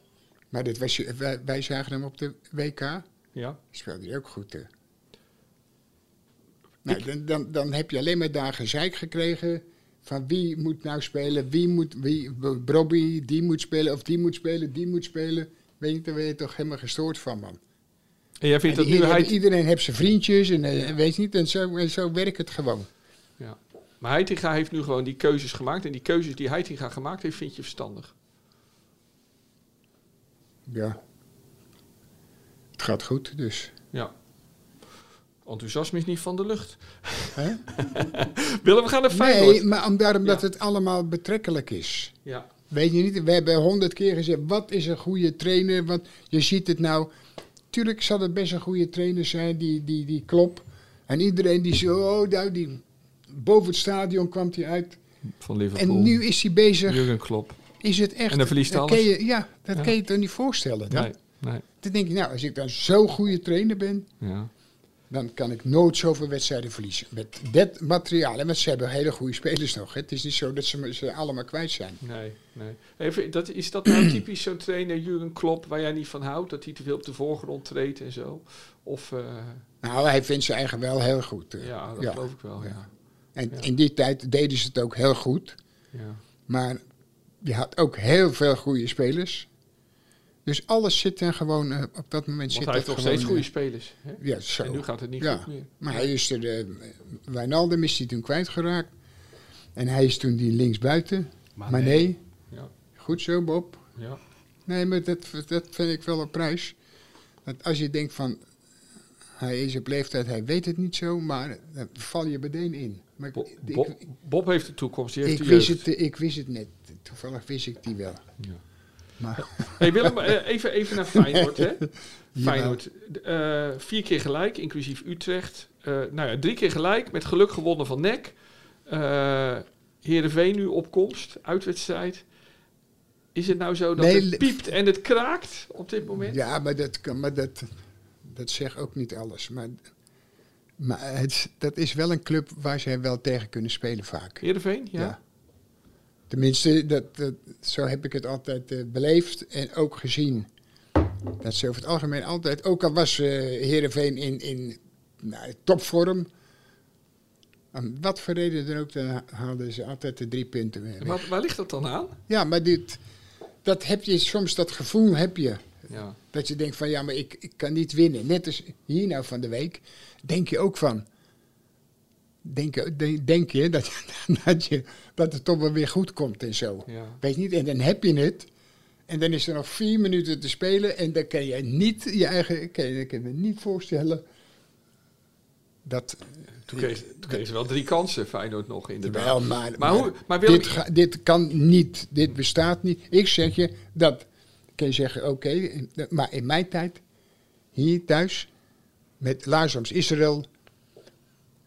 Speaker 1: Maar dit was, je- wij, wij zagen hem op de WK.
Speaker 2: ja.
Speaker 1: Speelde hij ook goed. hè. Nou, dan, dan, dan heb je alleen maar daar gezeik gekregen. Van wie moet nou spelen, wie moet, wie, Brobby, die moet spelen, of die moet spelen, die moet spelen. Weet je, daar ben je toch helemaal gestoord van, man.
Speaker 2: En jij vindt
Speaker 1: En
Speaker 2: dat nu
Speaker 1: iedereen,
Speaker 2: hij...
Speaker 1: iedereen heeft zijn vriendjes en eh, weet niet, en zo, en zo werkt het gewoon.
Speaker 2: Ja. Maar Heitinga heeft nu gewoon die keuzes gemaakt. En die keuzes die Heitinga gemaakt heeft, vind je verstandig.
Speaker 1: Ja. Het gaat goed, dus.
Speaker 2: Ja. Enthousiasme is niet van de lucht.
Speaker 1: Hè?
Speaker 2: Willem, we gaan naar Feyenoord.
Speaker 1: Nee, maar om, daarom dat het allemaal betrekkelijk is.
Speaker 2: Ja.
Speaker 1: Weet je niet, we hebben honderd keer gezegd, wat is een goede trainer? Want je ziet het nou. Tuurlijk zal het best een goede trainer zijn, die, die, die klop. En iedereen die zo, oh, nou, die, boven het stadion kwam hij uit.
Speaker 2: Van Liverpool.
Speaker 1: En nu is hij bezig.
Speaker 2: Jurgen Klopp.
Speaker 1: Is het echt...
Speaker 2: En dan verliest hij
Speaker 1: dat kan
Speaker 2: alles.
Speaker 1: je- Ja, dat
Speaker 2: Ja.
Speaker 1: kan je toch niet voorstellen dan?
Speaker 2: Nee, nee.
Speaker 1: Dan denk ik, nou, als ik dan zo'n goede trainer ben,
Speaker 2: Ja.
Speaker 1: dan kan ik nooit zoveel wedstrijden verliezen. Met dat materiaal. En want ze hebben hele goede spelers nog. Hè. Het is niet zo dat ze, ze allemaal kwijt zijn.
Speaker 2: Nee, nee. Even, dat, is dat nou typisch zo'n trainer, Jurgen Klopp, waar jij niet van houdt? Dat hij te veel op de voorgrond treedt en zo? Of, eh,
Speaker 1: Nou, hij vindt zijn eigen wel heel goed. eh. hè.
Speaker 2: ja, dat geloof ik wel. Ja.
Speaker 1: En
Speaker 2: Ja.
Speaker 1: in die tijd deden ze het ook heel goed.
Speaker 2: Ja.
Speaker 1: Maar je had ook heel veel goede spelers. Dus alles zit er gewoon, eh, op dat moment
Speaker 2: Want
Speaker 1: zit
Speaker 2: hij heeft nog
Speaker 1: dat
Speaker 2: steeds
Speaker 1: gewoon,
Speaker 2: goede
Speaker 1: eh,
Speaker 2: spelers. Hè?
Speaker 1: Ja, zo.
Speaker 2: En nu gaat het niet
Speaker 1: Ja.
Speaker 2: goed meer.
Speaker 1: Maar hij is er, eh, Wijnaldum is hij toen kwijtgeraakt. En hij is toen die linksbuiten.
Speaker 4: Maar
Speaker 1: Maar,
Speaker 4: nee.
Speaker 1: nee.
Speaker 2: Ja.
Speaker 1: goed zo Bob.
Speaker 2: Ja.
Speaker 1: Nee, maar dat, dat vind ik wel een prijs. Dat als je denkt van, hij is op leeftijd, hij weet het niet zo, maar eh, dan val je meteen in. Maar ik-
Speaker 2: Bo-
Speaker 1: ik-
Speaker 2: Bob, Bob heeft de toekomst, die heeft
Speaker 1: ik
Speaker 2: de
Speaker 1: wist,
Speaker 2: jeugd.
Speaker 1: het, eh, ik wist het net. Toevallig wist ik die wel.
Speaker 2: Ja.
Speaker 1: Maar
Speaker 2: Hey Willem, eh, even, even naar Feyenoord. Hè?
Speaker 1: Jawel.
Speaker 2: Feyenoord. Eh, vier keer gelijk, inclusief Utrecht. Eh, nou ja, drie keer gelijk, met geluk gewonnen van NEC. Eh Heerenveen nu opkomst, uitwedstrijd. Is het nou zo dat
Speaker 1: Nee,
Speaker 2: het
Speaker 1: le-
Speaker 2: piept en het kraakt op dit moment?
Speaker 1: ja, maar dat, kan- maar dat, dat zegt ook niet alles. Maar, maar het, dat is wel een club waar zij wel tegen kunnen spelen vaak.
Speaker 2: Heerenveen, ja?
Speaker 1: Ja. Tenminste, dat, dat, zo heb ik het altijd eh, beleefd en ook gezien. Dat ze over het algemeen altijd, ook al was eh Heerenveen in, in nou, topvorm... Om wat voor reden dan ook, dan ha- haalden ze altijd de drie punten weer.
Speaker 2: En Waar, waar ligt dat dan aan?
Speaker 1: Ja, maar dit, dat heb je soms, dat gevoel heb je.
Speaker 2: Ja,
Speaker 1: Dat je denkt van, ja, maar ik, ik kan niet winnen. Net als hier nou van de week, denk je ook van... Denk, je- denk, denk je, dat, dat je dat het toch wel weer goed komt en zo.
Speaker 2: ja.
Speaker 1: Weet niet, en dan heb je het. En dan is er nog vier minuten te spelen. En dan kan je niet je eigen... Kan je, kan je niet voorstellen dat...
Speaker 2: Toen kreeg, toen kreeg ze wel drie kansen, Feyenoord nog, inderdaad.
Speaker 1: Wel, maar,
Speaker 2: maar hoe- maar Willem-
Speaker 1: dit, ga- dit kan niet. Dit bestaat niet. Ik zeg je dat. Kun je zeggen, oké, in- maar in mijn tijd, hier thuis, met Lazarus Israël,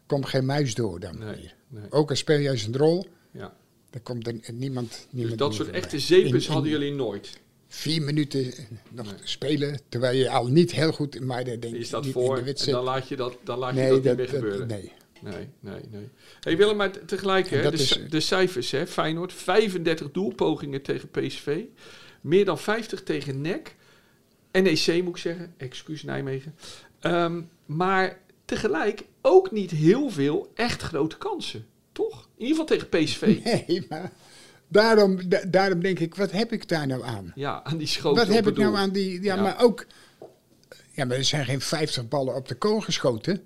Speaker 1: komt geen muis door dan.
Speaker 2: Nee, nee.
Speaker 1: Ook al speel jij zijn rol,
Speaker 2: Ja.
Speaker 1: dan komt er niemand.
Speaker 2: Dus
Speaker 1: niemand
Speaker 2: dat
Speaker 1: meer
Speaker 2: soort
Speaker 1: voorbij.
Speaker 2: echte zeepers
Speaker 1: In- in
Speaker 2: hadden jullie nooit.
Speaker 1: Vier minuten eh, nog
Speaker 2: Nee.
Speaker 1: spelen, terwijl je al niet heel goed, maar dan denk
Speaker 2: Je
Speaker 1: ik
Speaker 2: staat
Speaker 1: niet
Speaker 2: voor
Speaker 1: in de
Speaker 2: en
Speaker 1: wedstrijd.
Speaker 2: dan laat je dat, dan laat je
Speaker 1: nee,
Speaker 2: dat niet
Speaker 1: dat,
Speaker 2: meer
Speaker 1: dat-
Speaker 2: gebeuren.
Speaker 1: nee.
Speaker 2: Nee, nee, nee. Hey Willem, maar te- tegelijk,
Speaker 1: En
Speaker 2: hè,
Speaker 1: dat
Speaker 2: de,
Speaker 1: is-
Speaker 2: ci- de cijfers, hè, Feyenoord. 35 doelpogingen tegen PSV. Meer dan 50 tegen E NEC. NEC E moet ik zeggen, excuus Nijmegen. Ehm, maar tegelijk ook niet heel veel echt grote kansen, toch? In ieder geval tegen PSV.
Speaker 1: Nee, maar daarom, da- daarom denk ik, wat heb ik daar nou aan?
Speaker 2: Ja, aan die schoten
Speaker 1: Wat
Speaker 2: op
Speaker 1: heb
Speaker 2: het
Speaker 1: ik nou
Speaker 2: doel.
Speaker 1: aan die... Ja,
Speaker 2: Ja.
Speaker 1: maar ook... Ja, maar er zijn geen 50 ballen op de kool geschoten.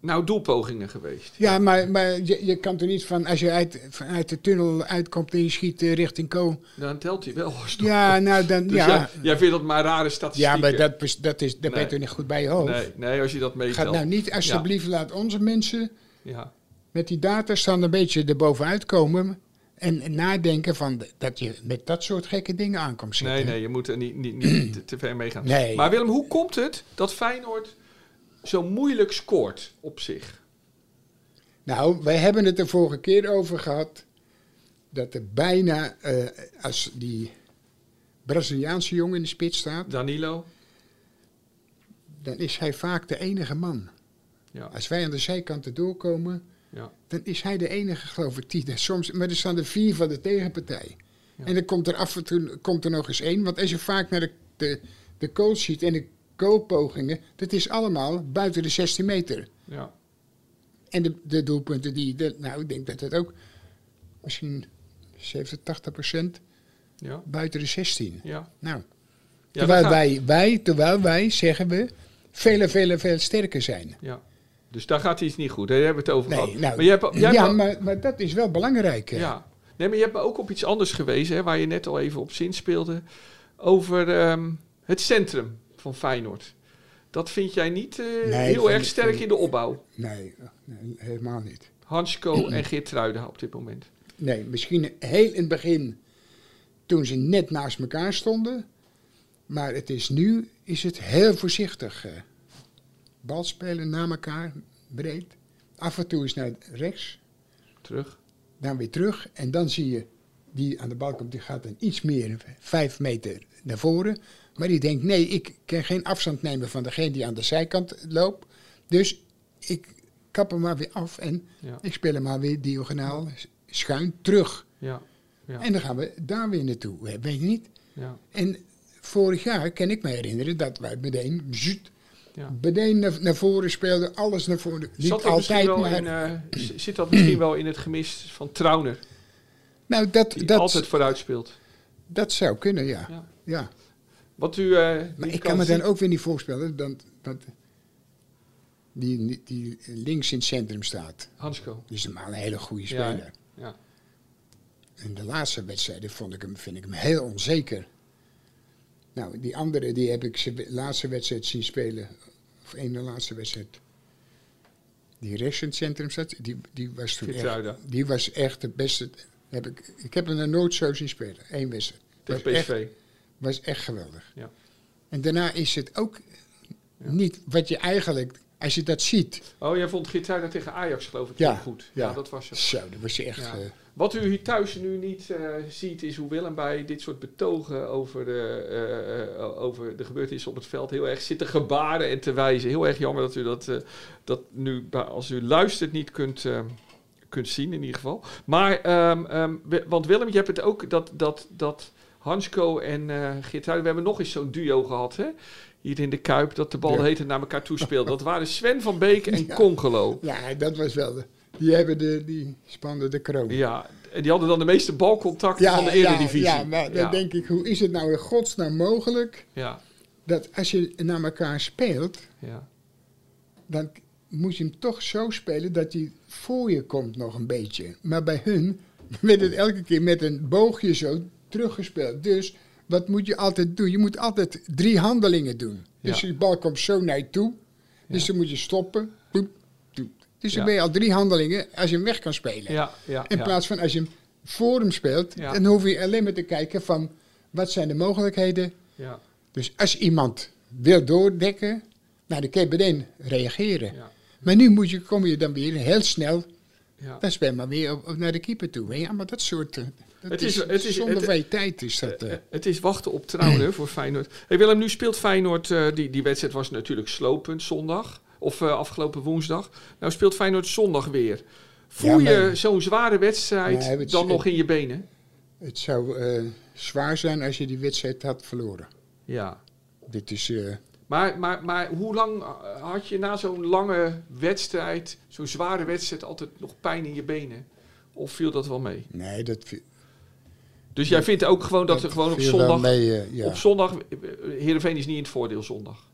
Speaker 2: Nou, doelpogingen geweest.
Speaker 1: Ja, maar, maar je, je kan toch niet van... Als je uit, vanuit de tunnel uitkomt en je schiet eh, richting kool...
Speaker 2: Dan telt hij wel. als doel.
Speaker 1: Ja, nou dan...
Speaker 2: Dus
Speaker 1: ja,
Speaker 2: jij, jij vindt dat maar rare statistieken.
Speaker 1: ja, maar dat, is- dat is, daar ben
Speaker 2: Nee.
Speaker 1: je toch niet goed bij je hoofd.
Speaker 2: Nee, nee, als je dat meetelt.
Speaker 1: Gaat nou niet, alsjeblieft, laat onze mensen
Speaker 2: Ja,
Speaker 1: met die datastand een beetje erbovenuit komen... En en nadenken van dat je met dat soort gekke dingen aankomt zitten.
Speaker 2: Nee, nee, je moet er niet, niet, niet te- te ver mee gaan.
Speaker 1: Nee.
Speaker 2: Maar Willem, hoe komt het dat Feyenoord zo moeilijk scoort op zich?
Speaker 1: Nou, wij hebben het de vorige keer over gehad. Dat er bijna, eh, als die Braziliaanse jongen in de spits staat,
Speaker 2: Danilo?
Speaker 1: dan is hij vaak de enige man.
Speaker 2: Ja,
Speaker 1: Als wij aan de zijkanten doorkomen,
Speaker 2: ja,
Speaker 1: dan is hij de enige, geloof ik. Die, daar soms, maar er staan er vier van de tegenpartij.
Speaker 2: Ja.
Speaker 1: En dan komt er af en toe komt er nog eens één. Want als je vaak naar de, de, de goal ziet en de goalpogingen, dat is allemaal buiten de 16 meter.
Speaker 2: ja.
Speaker 1: En de, de doelpunten die, de- nou ik denk dat het ook misschien 70, 80 procent
Speaker 2: ja.
Speaker 1: buiten de 16.
Speaker 2: Ja,
Speaker 1: Nou,
Speaker 2: ja, dat
Speaker 1: terwijl,
Speaker 2: gaat-
Speaker 1: wij, wij, terwijl wij, zeggen we, vele, vele, veel sterker zijn.
Speaker 2: ja. Dus daar gaat iets niet goed. Daar hebben we het over
Speaker 1: Nee,
Speaker 2: gehad.
Speaker 1: nou,
Speaker 2: maar je hebt, jij hebt
Speaker 1: ja,
Speaker 2: al-
Speaker 1: maar, maar dat is wel belangrijk. hè.
Speaker 2: ja. Nee, maar je hebt me ook op iets anders gewezen, hè, waar je net al even op zin speelde. Over ehm, het centrum van Feyenoord. Dat vind jij niet eh,
Speaker 1: Nee,
Speaker 2: heel
Speaker 1: vind
Speaker 2: erg
Speaker 1: ik-
Speaker 2: sterk in de opbouw.
Speaker 1: Nee, nee, helemaal niet.
Speaker 2: Hansko en Geert Truida op dit moment.
Speaker 1: Nee, misschien heel in het begin toen ze net naast elkaar stonden. Maar het is nu is het heel voorzichtig. eh. Bal spelen na elkaar, breed. Af en toe eens naar rechts,
Speaker 2: Terug.
Speaker 1: dan weer terug. En dan zie je die aan de bal komt, die gaat dan iets meer, vijf meter naar voren. Maar die denkt, nee, ik kan geen afstand nemen van degene die aan de zijkant loopt. Dus ik kap hem maar weer af en
Speaker 2: Ja.
Speaker 1: ik speel hem maar weer diagonaal schuin terug.
Speaker 2: Ja. Ja.
Speaker 1: En dan gaan we daar weer naartoe. hè, Weet je niet?
Speaker 2: ja.
Speaker 1: En vorig jaar kan ik me herinneren dat wij meteen, zoet,
Speaker 2: Ja.
Speaker 1: meteen naar, naar voren speelden. Alles naar voren. Niet
Speaker 2: Zat dat
Speaker 1: altijd,
Speaker 2: misschien wel
Speaker 1: maar...
Speaker 2: in, eh, z- zit dat misschien wel in het gemis van Trauner,
Speaker 1: nou, dat,
Speaker 2: die
Speaker 1: dat,
Speaker 2: altijd vooruit speelt?
Speaker 1: dat zou kunnen, ja.
Speaker 2: Ja.
Speaker 1: ja.
Speaker 2: Wat u, eh,
Speaker 1: Maar
Speaker 2: niet
Speaker 1: ik kan me
Speaker 2: zien-
Speaker 1: dan ook weer niet voorspellen dat, dat die, die links in het centrum staat.
Speaker 2: Hansko.
Speaker 1: Die is normaal een hele goede
Speaker 2: Ja, hè?
Speaker 1: speler.
Speaker 2: Ja.
Speaker 1: In de laatste wedstrijden vond ik hem, vind ik hem heel onzeker. Nou, die andere die heb ik zijn laatste wedstrijd zien spelen. Of één de laatste wedstrijd. Die rechts in het centrum zat. Die, die, was toen echt,
Speaker 2: Geertruida.
Speaker 1: die was echt de beste. Heb ik, ik heb hem nog nooit zo zien spelen. Eén wedstrijd.
Speaker 2: Tegen
Speaker 1: Was echt-
Speaker 2: PSV.
Speaker 1: was echt geweldig.
Speaker 2: Ja.
Speaker 1: En daarna is het ook niet wat je eigenlijk, als je dat ziet.
Speaker 2: Oh, jij vond Gitruida tegen Ajax, geloof ik,
Speaker 1: Ja,
Speaker 2: heel goed. Ja.
Speaker 1: ja.
Speaker 2: dat was het.
Speaker 1: Zo, dat was echt.
Speaker 2: Ja.
Speaker 1: eh,
Speaker 2: Wat u hier thuis nu niet eh, ziet, is hoe Willem bij dit soort betogen over de, eh, eh, over de gebeurtenissen op het veld heel erg zit te gebaren en te wijzen. Heel erg jammer dat u dat, eh, dat nu, bij- als u luistert, niet kunt, eh, kunt zien in ieder geval. Maar, ehm, ehm, we- want Willem, je hebt het ook, dat, dat, dat Hansko en eh Geert Huyden, we hebben nog eens zo'n duo gehad, hè? Hier in de Kuip, dat de bal
Speaker 1: Ja.
Speaker 2: de hete naar elkaar toespeelde. Dat waren Sven van Beek en Congelo.
Speaker 1: ja, dat was wel. de- die hebben de, die spannen de kroon.
Speaker 2: Ja, en die hadden dan de meeste balcontacten van de Eredivisie.
Speaker 1: Ja, ja, maar dan
Speaker 2: ja.
Speaker 1: denk ik, hoe is het nou in godsnaam mogelijk
Speaker 2: ja,
Speaker 1: dat als je naar elkaar speelt,
Speaker 2: ja,
Speaker 1: dan k- moet je hem toch zo spelen dat hij voor je komt nog een beetje. Maar bij hun werd het elke keer met een boogje zo teruggespeeld. Dus wat moet je altijd doen? Je moet altijd drie handelingen doen. Dus
Speaker 2: Ja.
Speaker 1: die bal komt zo naar je toe. Dus dan moet je stoppen. Doep, doep. Dus
Speaker 2: Ja.
Speaker 1: dan ben je al drie handelingen als je hem weg kan spelen.
Speaker 2: ja, ja,
Speaker 1: In
Speaker 2: ja.
Speaker 1: plaats van als je hem voor hem speelt,
Speaker 2: Ja.
Speaker 1: dan hoef je alleen maar te kijken van wat zijn de mogelijkheden.
Speaker 2: Ja,
Speaker 1: Dus als iemand wil doordekken, nou, dan kan je meteen reageren.
Speaker 2: ja,
Speaker 1: Maar nu moet je, kom je dan weer heel snel,
Speaker 2: ja.
Speaker 1: dan speel je maar weer op, op naar de keeper toe. Ja, maar dat soort, eh, dat
Speaker 2: Het
Speaker 1: het
Speaker 2: is-
Speaker 1: is,
Speaker 2: het is-
Speaker 1: zonder
Speaker 2: het-
Speaker 1: van je tijd is dat. eh.
Speaker 2: Eh, Het is wachten op Trouwner voor Feyenoord. Hey Willem, nu speelt Feyenoord, eh, die, die wedstrijd was natuurlijk slopend zondag, of eh, afgelopen woensdag. Nou speelt Feyenoord zondag weer. Voel
Speaker 1: Ja, maar-
Speaker 2: je zo'n zware wedstrijd
Speaker 1: Nee, het-
Speaker 2: dan
Speaker 1: het-
Speaker 2: nog in je benen?
Speaker 1: het zou eh, zwaar zijn als je die wedstrijd had verloren.
Speaker 2: Ja.
Speaker 1: Dit is, eh,
Speaker 2: Maar, maar, maar hoe lang eh, had je na zo'n lange wedstrijd, zo'n zware wedstrijd, altijd nog pijn in je benen? Of viel dat wel mee?
Speaker 1: nee, dat, vi-
Speaker 2: Dus jij vindt ook gewoon dat er gewoon op
Speaker 1: viel wel
Speaker 2: zondag...
Speaker 1: Mee, eh, ja.
Speaker 2: Op zondag... eh, Heerenveen is niet in het voordeel zondag.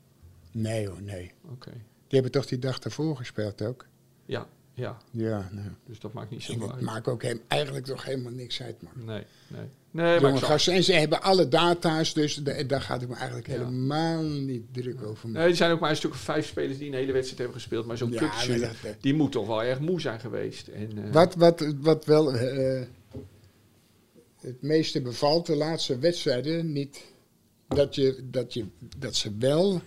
Speaker 1: Nee hoor, nee.
Speaker 2: Oké.
Speaker 1: Die hebben toch die dag daarvoor gespeeld ook?
Speaker 2: Ja, ja.
Speaker 1: Ja, nou.
Speaker 2: Dus dat maakt niet
Speaker 1: En
Speaker 2: zoveel
Speaker 1: dat
Speaker 2: uit.
Speaker 1: maakt ook hem, eigenlijk toch helemaal niks uit, man.
Speaker 2: Nee, nee. Nee, maar ik
Speaker 1: Jonge
Speaker 2: snap-
Speaker 1: gasten, en ze hebben alle data's, dus da- daar gaat ik me eigenlijk
Speaker 2: Ja.
Speaker 1: helemaal niet druk over maken.
Speaker 2: nee, er zijn ook maar een stuk of vijf spelers die een hele wedstrijd hebben gespeeld. Maar zo'n
Speaker 1: Ja,
Speaker 2: kutzuur,
Speaker 1: maar dat- eh,
Speaker 2: die moet toch wel erg moe zijn geweest. En, eh,
Speaker 1: Wat, wat, wat wel eh, het meeste bevalt, de laatste wedstrijden, niet dat, je, dat, je, dat ze wel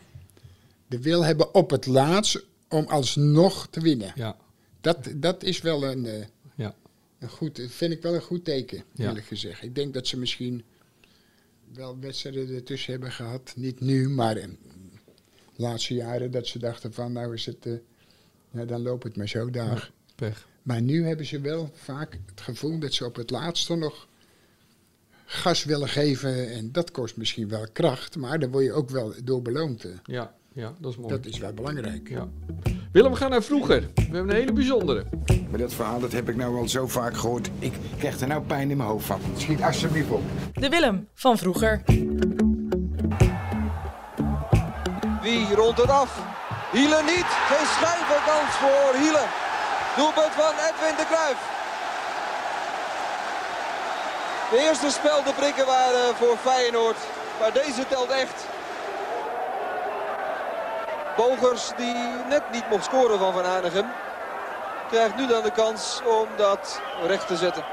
Speaker 1: de wil hebben op het laatst om alsnog te winnen.
Speaker 2: Ja,
Speaker 1: Dat, dat is wel een, eh,
Speaker 2: ja.
Speaker 1: een goed, vind ik wel een goed teken,
Speaker 2: Ja.
Speaker 1: eerlijk gezegd. Ik denk dat ze misschien wel wedstrijden ertussen hebben gehad, niet nu, maar in de laatste jaren, dat ze dachten van nou is het, eh, nou dan loopt het maar zo daag.
Speaker 2: Pech.
Speaker 1: Maar nu hebben ze wel vaak het gevoel dat ze op het laatste nog gas willen geven. En dat kost misschien wel kracht, maar daar word je ook wel door beloond. hè.
Speaker 2: Ja, ja, dat is mooi.
Speaker 1: Dat is wel belangrijk.
Speaker 2: Ja. Willem, we gaan naar vroeger. We hebben een hele bijzondere.
Speaker 5: Maar dat verhaal dat heb ik nou al zo vaak gehoord. Ik krijg er nou pijn in mijn hoofd van. Schiet alsjeblieft op.
Speaker 3: De Willem van vroeger.
Speaker 6: Wie rondt het af? Hielen niet. Geen schijnbaar kans voor Hielen. Doelpunt van Edwin de Cruijff. De eerste eh, spel de prikken waren voor Feyenoord. Maar deze telt echt. Bogers die net niet mocht scoren van Van Hanegem. Krijgt nu dan de kans om dat recht te zetten.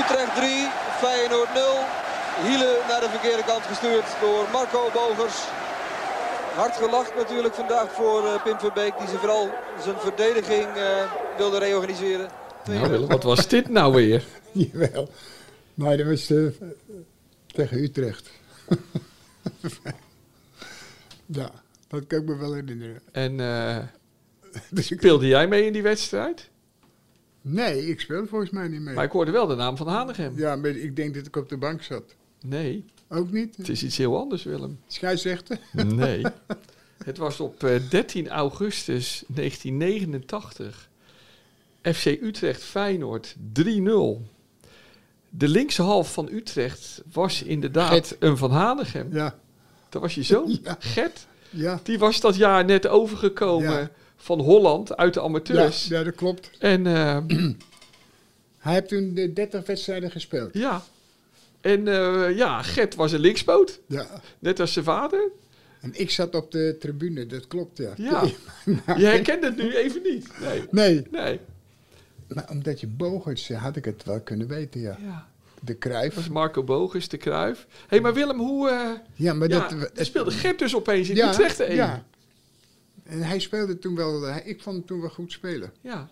Speaker 6: Utrecht 3, Feyenoord 0. Hiele naar de verkeerde kant gestuurd door Marco Bogers. Hard gelacht natuurlijk vandaag voor eh, Pim Verbeek. Die ze vooral zijn verdediging eh, wilde reorganiseren.
Speaker 2: Nou, Willem, wat was dit nou weer?
Speaker 1: Jawel. Maar dat was eh, tegen Utrecht. ja, dat kan ik me wel herinneren.
Speaker 2: En eh,
Speaker 1: Dus ik-
Speaker 2: speelde jij mee in die wedstrijd?
Speaker 1: nee, ik speel volgens mij niet mee.
Speaker 2: Maar ik hoorde wel de naam van Hanegem.
Speaker 1: Ja, maar ik denk dat ik op de bank zat.
Speaker 2: Nee,
Speaker 1: Ook niet?
Speaker 2: het is iets heel anders, Willem.
Speaker 1: Scheidsrechter?
Speaker 2: Nee. Het was op eh, 13 augustus 1989. FC Utrecht Feyenoord 3-0. De linkse half van Utrecht was inderdaad
Speaker 1: Gert.
Speaker 2: een Van Hanegem.
Speaker 1: Ja,
Speaker 2: Dat was je zoon,
Speaker 1: Ja.
Speaker 2: Gert.
Speaker 1: ja.
Speaker 2: Die was dat jaar net overgekomen
Speaker 1: Ja.
Speaker 2: van Holland uit de
Speaker 1: Ja,
Speaker 2: amateurs.
Speaker 1: ja, dat klopt.
Speaker 2: En eh,
Speaker 1: Hij heeft toen de 30 wedstrijden gespeeld.
Speaker 2: ja. En eh, ja, Gert was een linkspoot.
Speaker 1: Ja.
Speaker 2: Net als zijn vader.
Speaker 1: En ik zat op de tribune, dat klopt, ja.
Speaker 2: Ja. Je herkent het nu even niet. Nee.
Speaker 1: Nee, maar
Speaker 2: Nee.
Speaker 1: Nou, omdat je bogers eh, had ik het wel kunnen weten, ja.
Speaker 2: Ja.
Speaker 1: De
Speaker 2: Dat was
Speaker 1: kruif.
Speaker 2: Marco Bogus, de Kruif. Hé, hey, maar Willem, hoe... eh
Speaker 1: Ja, maar
Speaker 2: ja,
Speaker 1: dat...
Speaker 2: er speelde Gert dus opeens in
Speaker 1: ja,
Speaker 2: Utrecht één.
Speaker 1: Ja. En hij speelde toen wel... eh, Ik vond hem toen wel goed spelen.
Speaker 2: Ja.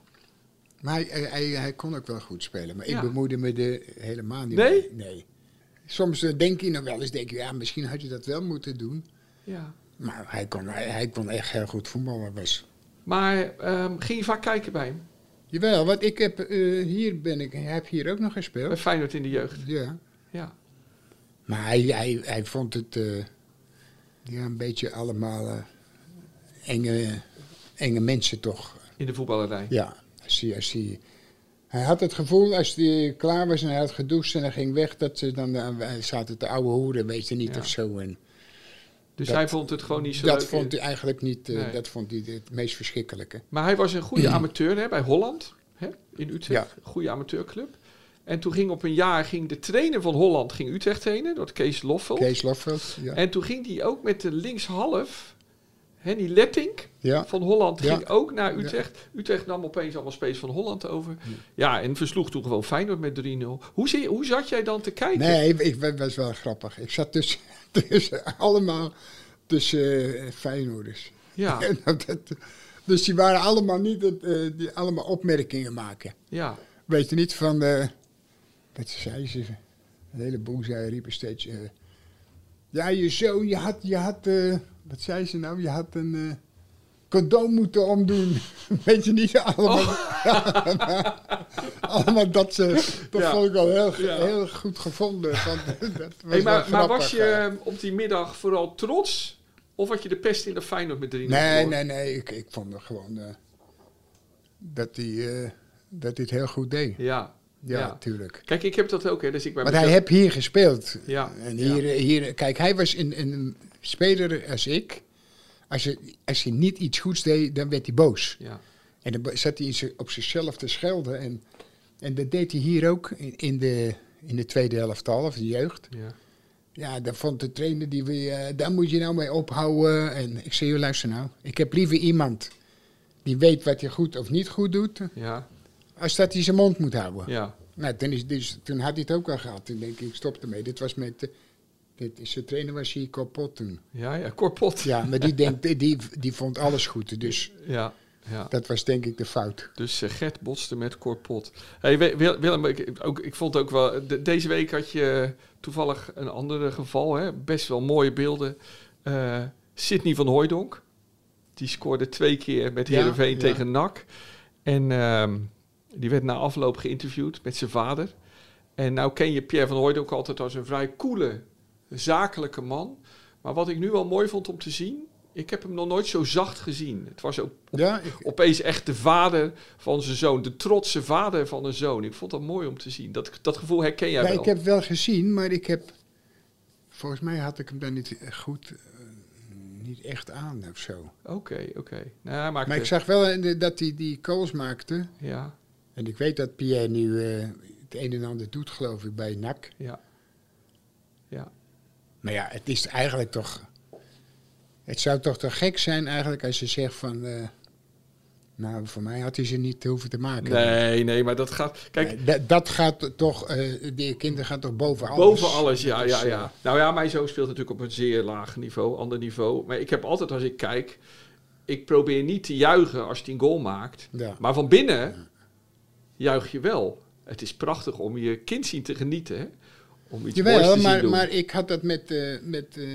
Speaker 1: Maar hij, hij, hij, hij kon ook wel goed spelen. Maar
Speaker 2: Ja.
Speaker 1: ik bemoeide me er helemaal niet
Speaker 2: Nee?
Speaker 1: mee. Nee. Soms eh, denk je nog wel eens, denk je, ja, misschien had je dat wel moeten doen.
Speaker 2: ja.
Speaker 1: Maar hij kon, hij, hij kon echt heel goed voetballen. Was.
Speaker 2: Maar ehm, ging je vaak kijken bij hem?
Speaker 1: Jawel, want ik heb, eh, hier ben ik, heb hier ook nog
Speaker 2: Bij
Speaker 1: gespeeld.
Speaker 2: Feyenoord in de jeugd.
Speaker 1: Ja.
Speaker 2: Ja.
Speaker 1: Maar hij, hij, hij vond het eh, ja, een beetje allemaal eh, enge, enge mensen toch.
Speaker 2: In de voetballerij.
Speaker 1: Ja, als hij, als hij, hij had het gevoel als hij klaar was en hij had gedoucht en hij ging weg, dat ze dan eh, zaten te oude hoeren, weet je niet
Speaker 2: Ja.
Speaker 1: of zo. En
Speaker 2: Dus
Speaker 1: Dat-
Speaker 2: hij vond het gewoon niet zo
Speaker 1: dat
Speaker 2: leuk.
Speaker 1: vond hij eigenlijk niet, eh,
Speaker 2: Nee.
Speaker 1: dat vond hij het meest verschrikkelijke.
Speaker 2: Maar hij was een goede amateur hè, bij Holland. Hè, in Utrecht.
Speaker 1: Ja.
Speaker 2: Goede amateurclub. En toen ging op een jaar ging de trainer van Holland ging Utrecht trainen. Dat Kees Loffel.
Speaker 1: Kees Lofveld, ja.
Speaker 2: Oh. En toen ging hij ook met de linkshalf, Henny Letting
Speaker 1: Ja.
Speaker 2: van Holland,
Speaker 1: Ja.
Speaker 2: ging ook naar Utrecht. Utrecht nam opeens allemaal space van Holland over. Ja, en versloeg toen gewoon Feyenoord met 3-0. Hoe, zie- hoe zat jij dan te kijken?
Speaker 1: Nee, ik was was wel grappig. Ik zat tussen, tussen allemaal tussen eh Feyenoorders.
Speaker 2: Ja,
Speaker 1: En Nou, dat- dus die waren allemaal niet, het, eh, die allemaal opmerkingen maken.
Speaker 2: ja,
Speaker 1: Weet je niet van, eh wat zei ze? Een heleboel zei, riepen steeds, eh, ja je zoon, je had, je had eh, wat zei ze nou, je had een eh, condoom moeten omdoen. Weet je niet, allemaal, allemaal dat ze, dat
Speaker 2: Oh. Ja.
Speaker 1: vond ik al heel,
Speaker 2: Ja.
Speaker 1: heel goed gevonden. Want, dat was wel
Speaker 2: Hey, maar, maar
Speaker 1: grappig, eh.
Speaker 2: was
Speaker 1: ja.
Speaker 2: je ehm, op die middag vooral trots? Of had je de pest in de Feyenoord met 3-0?
Speaker 1: Nee,
Speaker 2: verloren?
Speaker 1: nee, nee, ik, ik vond het gewoon eh, dat hij eh, dat hij het heel goed deed.
Speaker 2: Ja, ja.
Speaker 1: Ja, natuurlijk.
Speaker 2: Kijk, ik heb dat ook, hè. Dus ik ben
Speaker 1: Want hij heeft hier gespeeld.
Speaker 2: Ja.
Speaker 1: En hier, hier, kijk, hij was een, een speler als ik. Als je, als je niet iets goeds deed, dan werd hij boos.
Speaker 2: Ja,
Speaker 1: En dan be- zat hij in zich- op zichzelf te schelden. En, en dat deed hij hier ook in, in de, in de tweede helft al, of de jeugd.
Speaker 2: ja.
Speaker 1: Ja, dan vond de trainer die we, eh, daar moet je nou mee ophouden. En ik zei, joh, luister nou, ik heb liever iemand die weet wat hij goed of niet goed doet,
Speaker 2: Ja,
Speaker 1: als dat hij zijn mond moet houden.
Speaker 2: ja,
Speaker 1: Nou, toen, is, dus, toen had hij het ook al gehad. Toen denk ik, ik stop ermee. Dit was met... eh, Dit, zijn trainer was hier kapot toen.
Speaker 2: ja, ja. Korpot.
Speaker 1: Ja, maar die, denkt, die- die, die vond alles goed. Dus
Speaker 2: ja, ja.
Speaker 1: dat was denk ik de fout.
Speaker 2: Dus eh, Gert botste met Corpot. Hey, Wi- Wil- Willem, ik, ook, ik vond ook wel... eh, de- deze week had je eh, toevallig een ander geval. Hè? Best wel mooie beelden. Eh Sidney van Hooijdonk. Die scoorde twee keer met
Speaker 1: Ja,
Speaker 2: Heerenveen
Speaker 1: ja.
Speaker 2: tegen NAC. En ehm, die werd na afloop geïnterviewd met zijn vader. En nou ken je Pierre van Hooijdonk altijd als een vrij koele, zakelijke man. Maar wat ik nu wel mooi vond om te zien... Ik heb hem nog nooit zo zacht gezien. Het was ook
Speaker 1: Ja, ik,
Speaker 2: opeens echt de vader van zijn zoon. De trotse vader van een zoon. Ik vond dat mooi om te zien. Dat, dat gevoel herken jij
Speaker 1: ja,
Speaker 2: wel.
Speaker 1: ik heb wel gezien, maar ik heb... Volgens mij had ik hem daar niet goed... eh, niet echt aan of zo.
Speaker 2: Oké, oké. Nou, hij maakt
Speaker 1: Maar ik
Speaker 2: het-
Speaker 1: zag wel eh, dat hij die calls maakte.
Speaker 2: Ja,
Speaker 1: En ik weet dat Pierre nu eh, het een en ander doet, geloof ik, bij NAC.
Speaker 2: ja. Ja,
Speaker 1: Maar ja, het is eigenlijk toch... Het zou toch te gek zijn eigenlijk als je zegt van... eh, nou, voor mij had hij ze niet hoeven te maken.
Speaker 2: Nee, nee, maar dat gaat... Kijk,
Speaker 1: Eh, da- dat gaat toch... eh die kinderen gaan toch boven alles?
Speaker 2: Boven alles, ja, ja, ja. Nou ja, mijn zoon speelt natuurlijk op een zeer laag niveau, ander niveau. Maar ik heb altijd, als ik kijk, ik probeer niet te juichen als hij een goal maakt.
Speaker 1: Ja.
Speaker 2: Maar van binnen juich je wel. Het is prachtig om je kind zien te genieten, hè? Om iets moois te
Speaker 1: Jawel,
Speaker 2: zien
Speaker 1: maar,
Speaker 2: doen.
Speaker 1: maar ik had dat met, eh, met eh,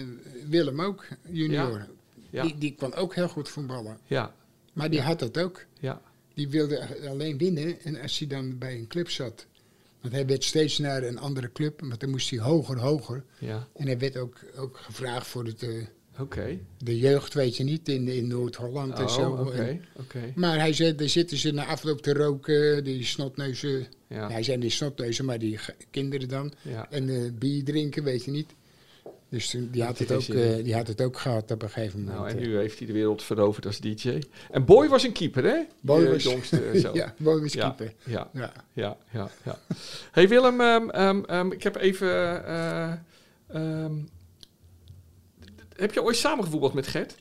Speaker 1: Willem ook, junior.
Speaker 2: Ja.
Speaker 1: Die, die kon ook heel goed voetballen.
Speaker 2: Ja,
Speaker 1: Maar die had dat ook.
Speaker 2: ja,
Speaker 1: Die wilde alleen winnen. En als hij dan bij een club zat... Want hij werd steeds naar een andere club. Want dan moest hij hoger, hoger.
Speaker 2: ja.
Speaker 1: En hij werd ook, ook gevraagd voor het, eh,
Speaker 2: Oké.
Speaker 1: de jeugd, weet je niet, in, in Noord-Holland en zo.
Speaker 2: Oh, oké,
Speaker 1: En-
Speaker 2: oké.
Speaker 1: maar hij zei, daar zitten ze na afloop te roken, die snotneuzen.
Speaker 2: Ja.
Speaker 1: Nou, hij zei niet snotneuzen, maar die ge- kinderen dan.
Speaker 2: Ja.
Speaker 1: En eh, bier drinken, weet je niet. Dus toen, die, had
Speaker 2: Dat
Speaker 1: het ook,
Speaker 2: is hij.
Speaker 1: eh, die had het ook gehad op een gegeven moment.
Speaker 2: Nou, en
Speaker 1: eh.
Speaker 2: nu heeft hij de wereld veroverd als DJ. En Boy was een keeper, hè?
Speaker 1: Boy
Speaker 2: Die, eh,
Speaker 1: was-
Speaker 2: jongste, eh, zo.
Speaker 1: ja, mooi was
Speaker 2: ja,
Speaker 1: keeper.
Speaker 2: ja.
Speaker 1: Ja.
Speaker 2: ja, ja, ja. hey Willem, ehm, ehm, ehm, ik heb even. eh, ehm, d- heb je ooit samengevoetbald met Gert?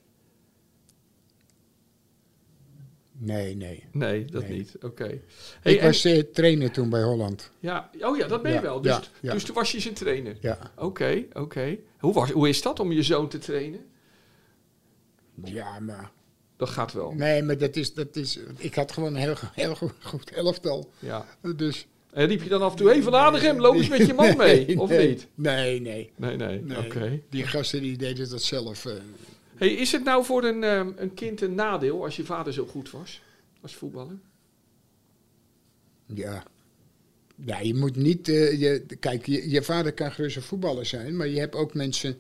Speaker 1: Nee, nee.
Speaker 2: Nee, dat
Speaker 1: Nee.
Speaker 2: niet. Oké. Hey,
Speaker 1: ik
Speaker 2: en-
Speaker 1: was eh, trainer toen bij Holland.
Speaker 2: ja, oh ja, dat ben je
Speaker 1: Ja,
Speaker 2: wel. Dus,
Speaker 1: ja, ja.
Speaker 2: dus toen was je zijn trainer.
Speaker 1: Ja.
Speaker 2: Oké, oké. Hoe, was- hoe is dat om je zoon te trainen?
Speaker 1: Ja, maar...
Speaker 2: Dat gaat wel.
Speaker 1: Nee, maar dat is... Dat is ik had gewoon een heel, go- heel go- goed elftal.
Speaker 2: Ja.
Speaker 1: Dus...
Speaker 2: En riep je dan af en toe even laden hem, loop eens met je man mee, of
Speaker 1: nee,
Speaker 2: niet?
Speaker 1: Nee, nee.
Speaker 2: Nee, nee.
Speaker 1: nee.
Speaker 2: Oké.
Speaker 1: Die gasten die deden dat zelf. eh.
Speaker 2: Hey, is het nou voor een, ehm, een kind een nadeel als je vader zo goed was als voetballer?
Speaker 1: ja. ja, je moet niet... eh, je, kijk, je, je vader kan gerust een voetballer zijn, maar je hebt ook mensen...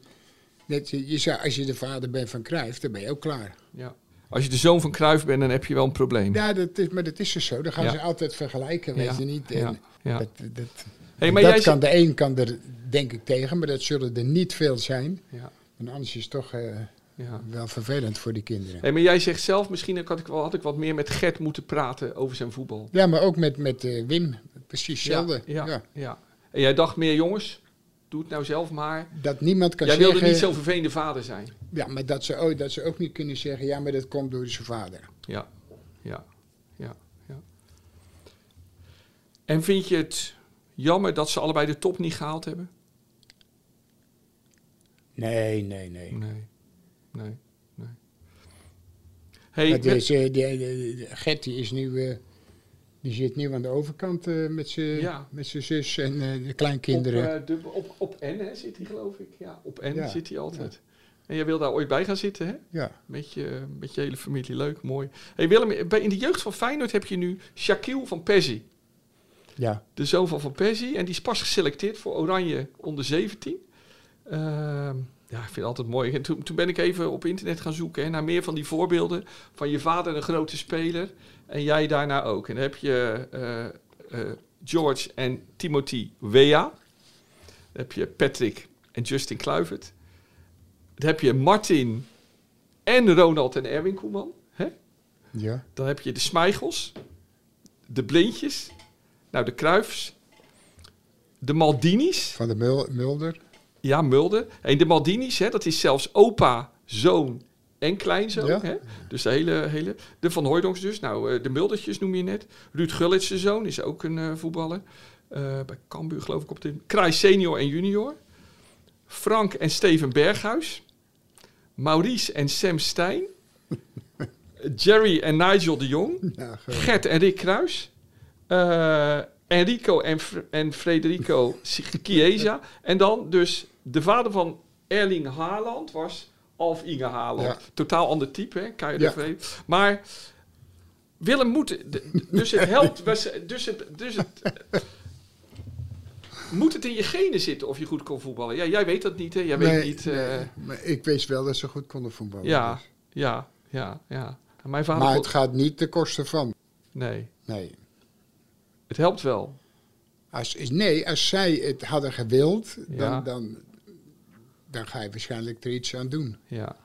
Speaker 1: Dat je, je zou, als je de vader bent van Cruijff, dan ben je ook klaar.
Speaker 2: Ja. Als je de zoon van Cruijff bent, dan heb je wel een probleem.
Speaker 1: Ja, dat is, maar dat is dus zo. Dan gaan
Speaker 2: Ja.
Speaker 1: ze altijd vergelijken, weet
Speaker 2: Ja,
Speaker 1: je niet. En
Speaker 2: ja, ja.
Speaker 1: Dat, dat,
Speaker 2: Hey, maar
Speaker 1: dat
Speaker 2: jij
Speaker 1: kan de een kan er denk ik tegen, maar dat zullen er niet veel zijn.
Speaker 2: Ja,
Speaker 1: En anders is het toch eh,
Speaker 2: ja.
Speaker 1: wel vervelend voor die kinderen.
Speaker 2: Hey, maar jij zegt zelf, misschien had ik, wel, had ik wat meer met Gert moeten praten over zijn voetbal.
Speaker 1: Ja, maar ook met, met eh, Wim. Precies hetzelfde.
Speaker 2: Ja, ja,
Speaker 1: ja.
Speaker 2: ja. En jij dacht meer, jongens, doe het nou zelf maar.
Speaker 1: Dat niemand kan
Speaker 2: Jij wilde
Speaker 1: zeggen...
Speaker 2: niet zo'n vervelende vader zijn.
Speaker 1: Ja, maar dat ze, ook, dat ze ook niet kunnen zeggen... ja, maar dat komt door zijn vader.
Speaker 2: Ja, ja, ja, ja. En vind je het jammer dat ze allebei de top niet gehaald hebben?
Speaker 1: Nee, nee, nee.
Speaker 2: Nee, nee, nee. Hey,
Speaker 1: Dat
Speaker 2: met-
Speaker 1: is, eh, die, die- die- Gert die is nu... eh, die zit nu aan de overkant eh, met zijn
Speaker 2: Ja.
Speaker 1: met zijn zus en eh, de kleinkinderen.
Speaker 2: Op, eh, dubbel- op, op N hè, zit hij, geloof ik. Ja, op N
Speaker 1: Ja,
Speaker 2: zit hij altijd. En jij wil daar ooit bij gaan zitten, hè?
Speaker 1: ja.
Speaker 2: Met je, met je hele familie. Leuk, mooi. hey Willem, bij, in de jeugd van Feyenoord heb je nu Shaquille van Persie.
Speaker 1: ja.
Speaker 2: De zoon van Van Persie. En die is pas geselecteerd voor Oranje onder 17. Ehm, ja, ik vind het altijd mooi. En toen, toen ben ik even op internet gaan zoeken hè, naar meer van die voorbeelden. Van je vader een grote speler en jij daarna ook. En dan heb je eh, eh, George en Timothy Wea. Dan heb je Patrick en Justin Kluivert. Dan heb je Martin en Ronald en Erwin Koeman. Hè?
Speaker 1: Ja.
Speaker 2: Dan heb je de Smijgels, de Blindjes, nou de Kruifs, de Maldinis,
Speaker 1: Van de Mul- Mulder.
Speaker 2: ja Mulder. En de Maldinis, hè, dat is zelfs opa, zoon en kleinzoon.
Speaker 1: Ja.
Speaker 2: Hè? Dus de hele, hele, de Van Hooydonks dus, nou eh, de Muldertjes noem je net. Ruud Gullits, zijn zoon, is ook een eh, voetballer. Eh, bij Cambuur geloof ik op de... Kraai senior en junior. Frank en Steven Berghuis. Maurice en Sam Stijn. Jerry en Nigel de Jong.
Speaker 1: Ja, ge-
Speaker 2: Gert en Rick Kruis. eh, Enrico en, Fr- en Frederico Chiesa. En dan dus de vader van Erling Haaland was Alf Inge Haaland.
Speaker 1: Ja.
Speaker 2: Totaal ander type, hè? Kan je
Speaker 1: Ja.
Speaker 2: E. Maar Willem moet... de- Dus het helpt... was- Dus het, dus het, moet het in je genen zitten of je goed kon voetballen? Ja, jij weet dat niet, hè? Jij weet
Speaker 1: Nee,
Speaker 2: niet... eh,
Speaker 1: nee, maar ik wist wel dat ze goed konden voetballen. dus.
Speaker 2: ja, ja, ja, ja. En Mijn vader...
Speaker 1: Maar
Speaker 2: kon-
Speaker 1: het gaat niet ten koste van.
Speaker 2: Nee,
Speaker 1: Nee.
Speaker 2: het helpt wel.
Speaker 1: Als, nee, als zij het hadden gewild,
Speaker 2: Ja.
Speaker 1: dan, dan, dan ga je waarschijnlijk er iets aan doen.
Speaker 2: Ja.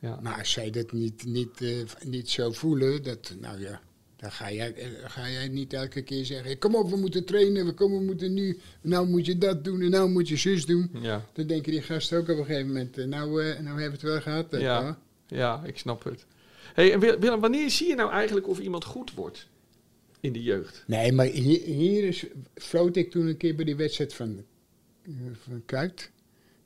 Speaker 2: ja.
Speaker 1: Maar als zij dat niet, niet, eh, niet zo voelen, dat, nou ja, Dan ga jij, eh, ga jij niet elke keer zeggen, kom op, we moeten trainen, we, komen, we moeten nu, nou moet je dat doen en nou moet je zus doen.
Speaker 2: Ja.
Speaker 1: Dan denken die gasten ook op een gegeven moment, eh, nou, eh, nou hebben we het wel gehad. weet je wel.
Speaker 2: Ja, ja, ik snap het. Hey, en Wil- Willem, wanneer zie je nou eigenlijk of iemand goed wordt in de jeugd?
Speaker 1: Nee, maar hier, hier is, floot ik toen een keer bij die wedstrijd van, eh, van Kuit.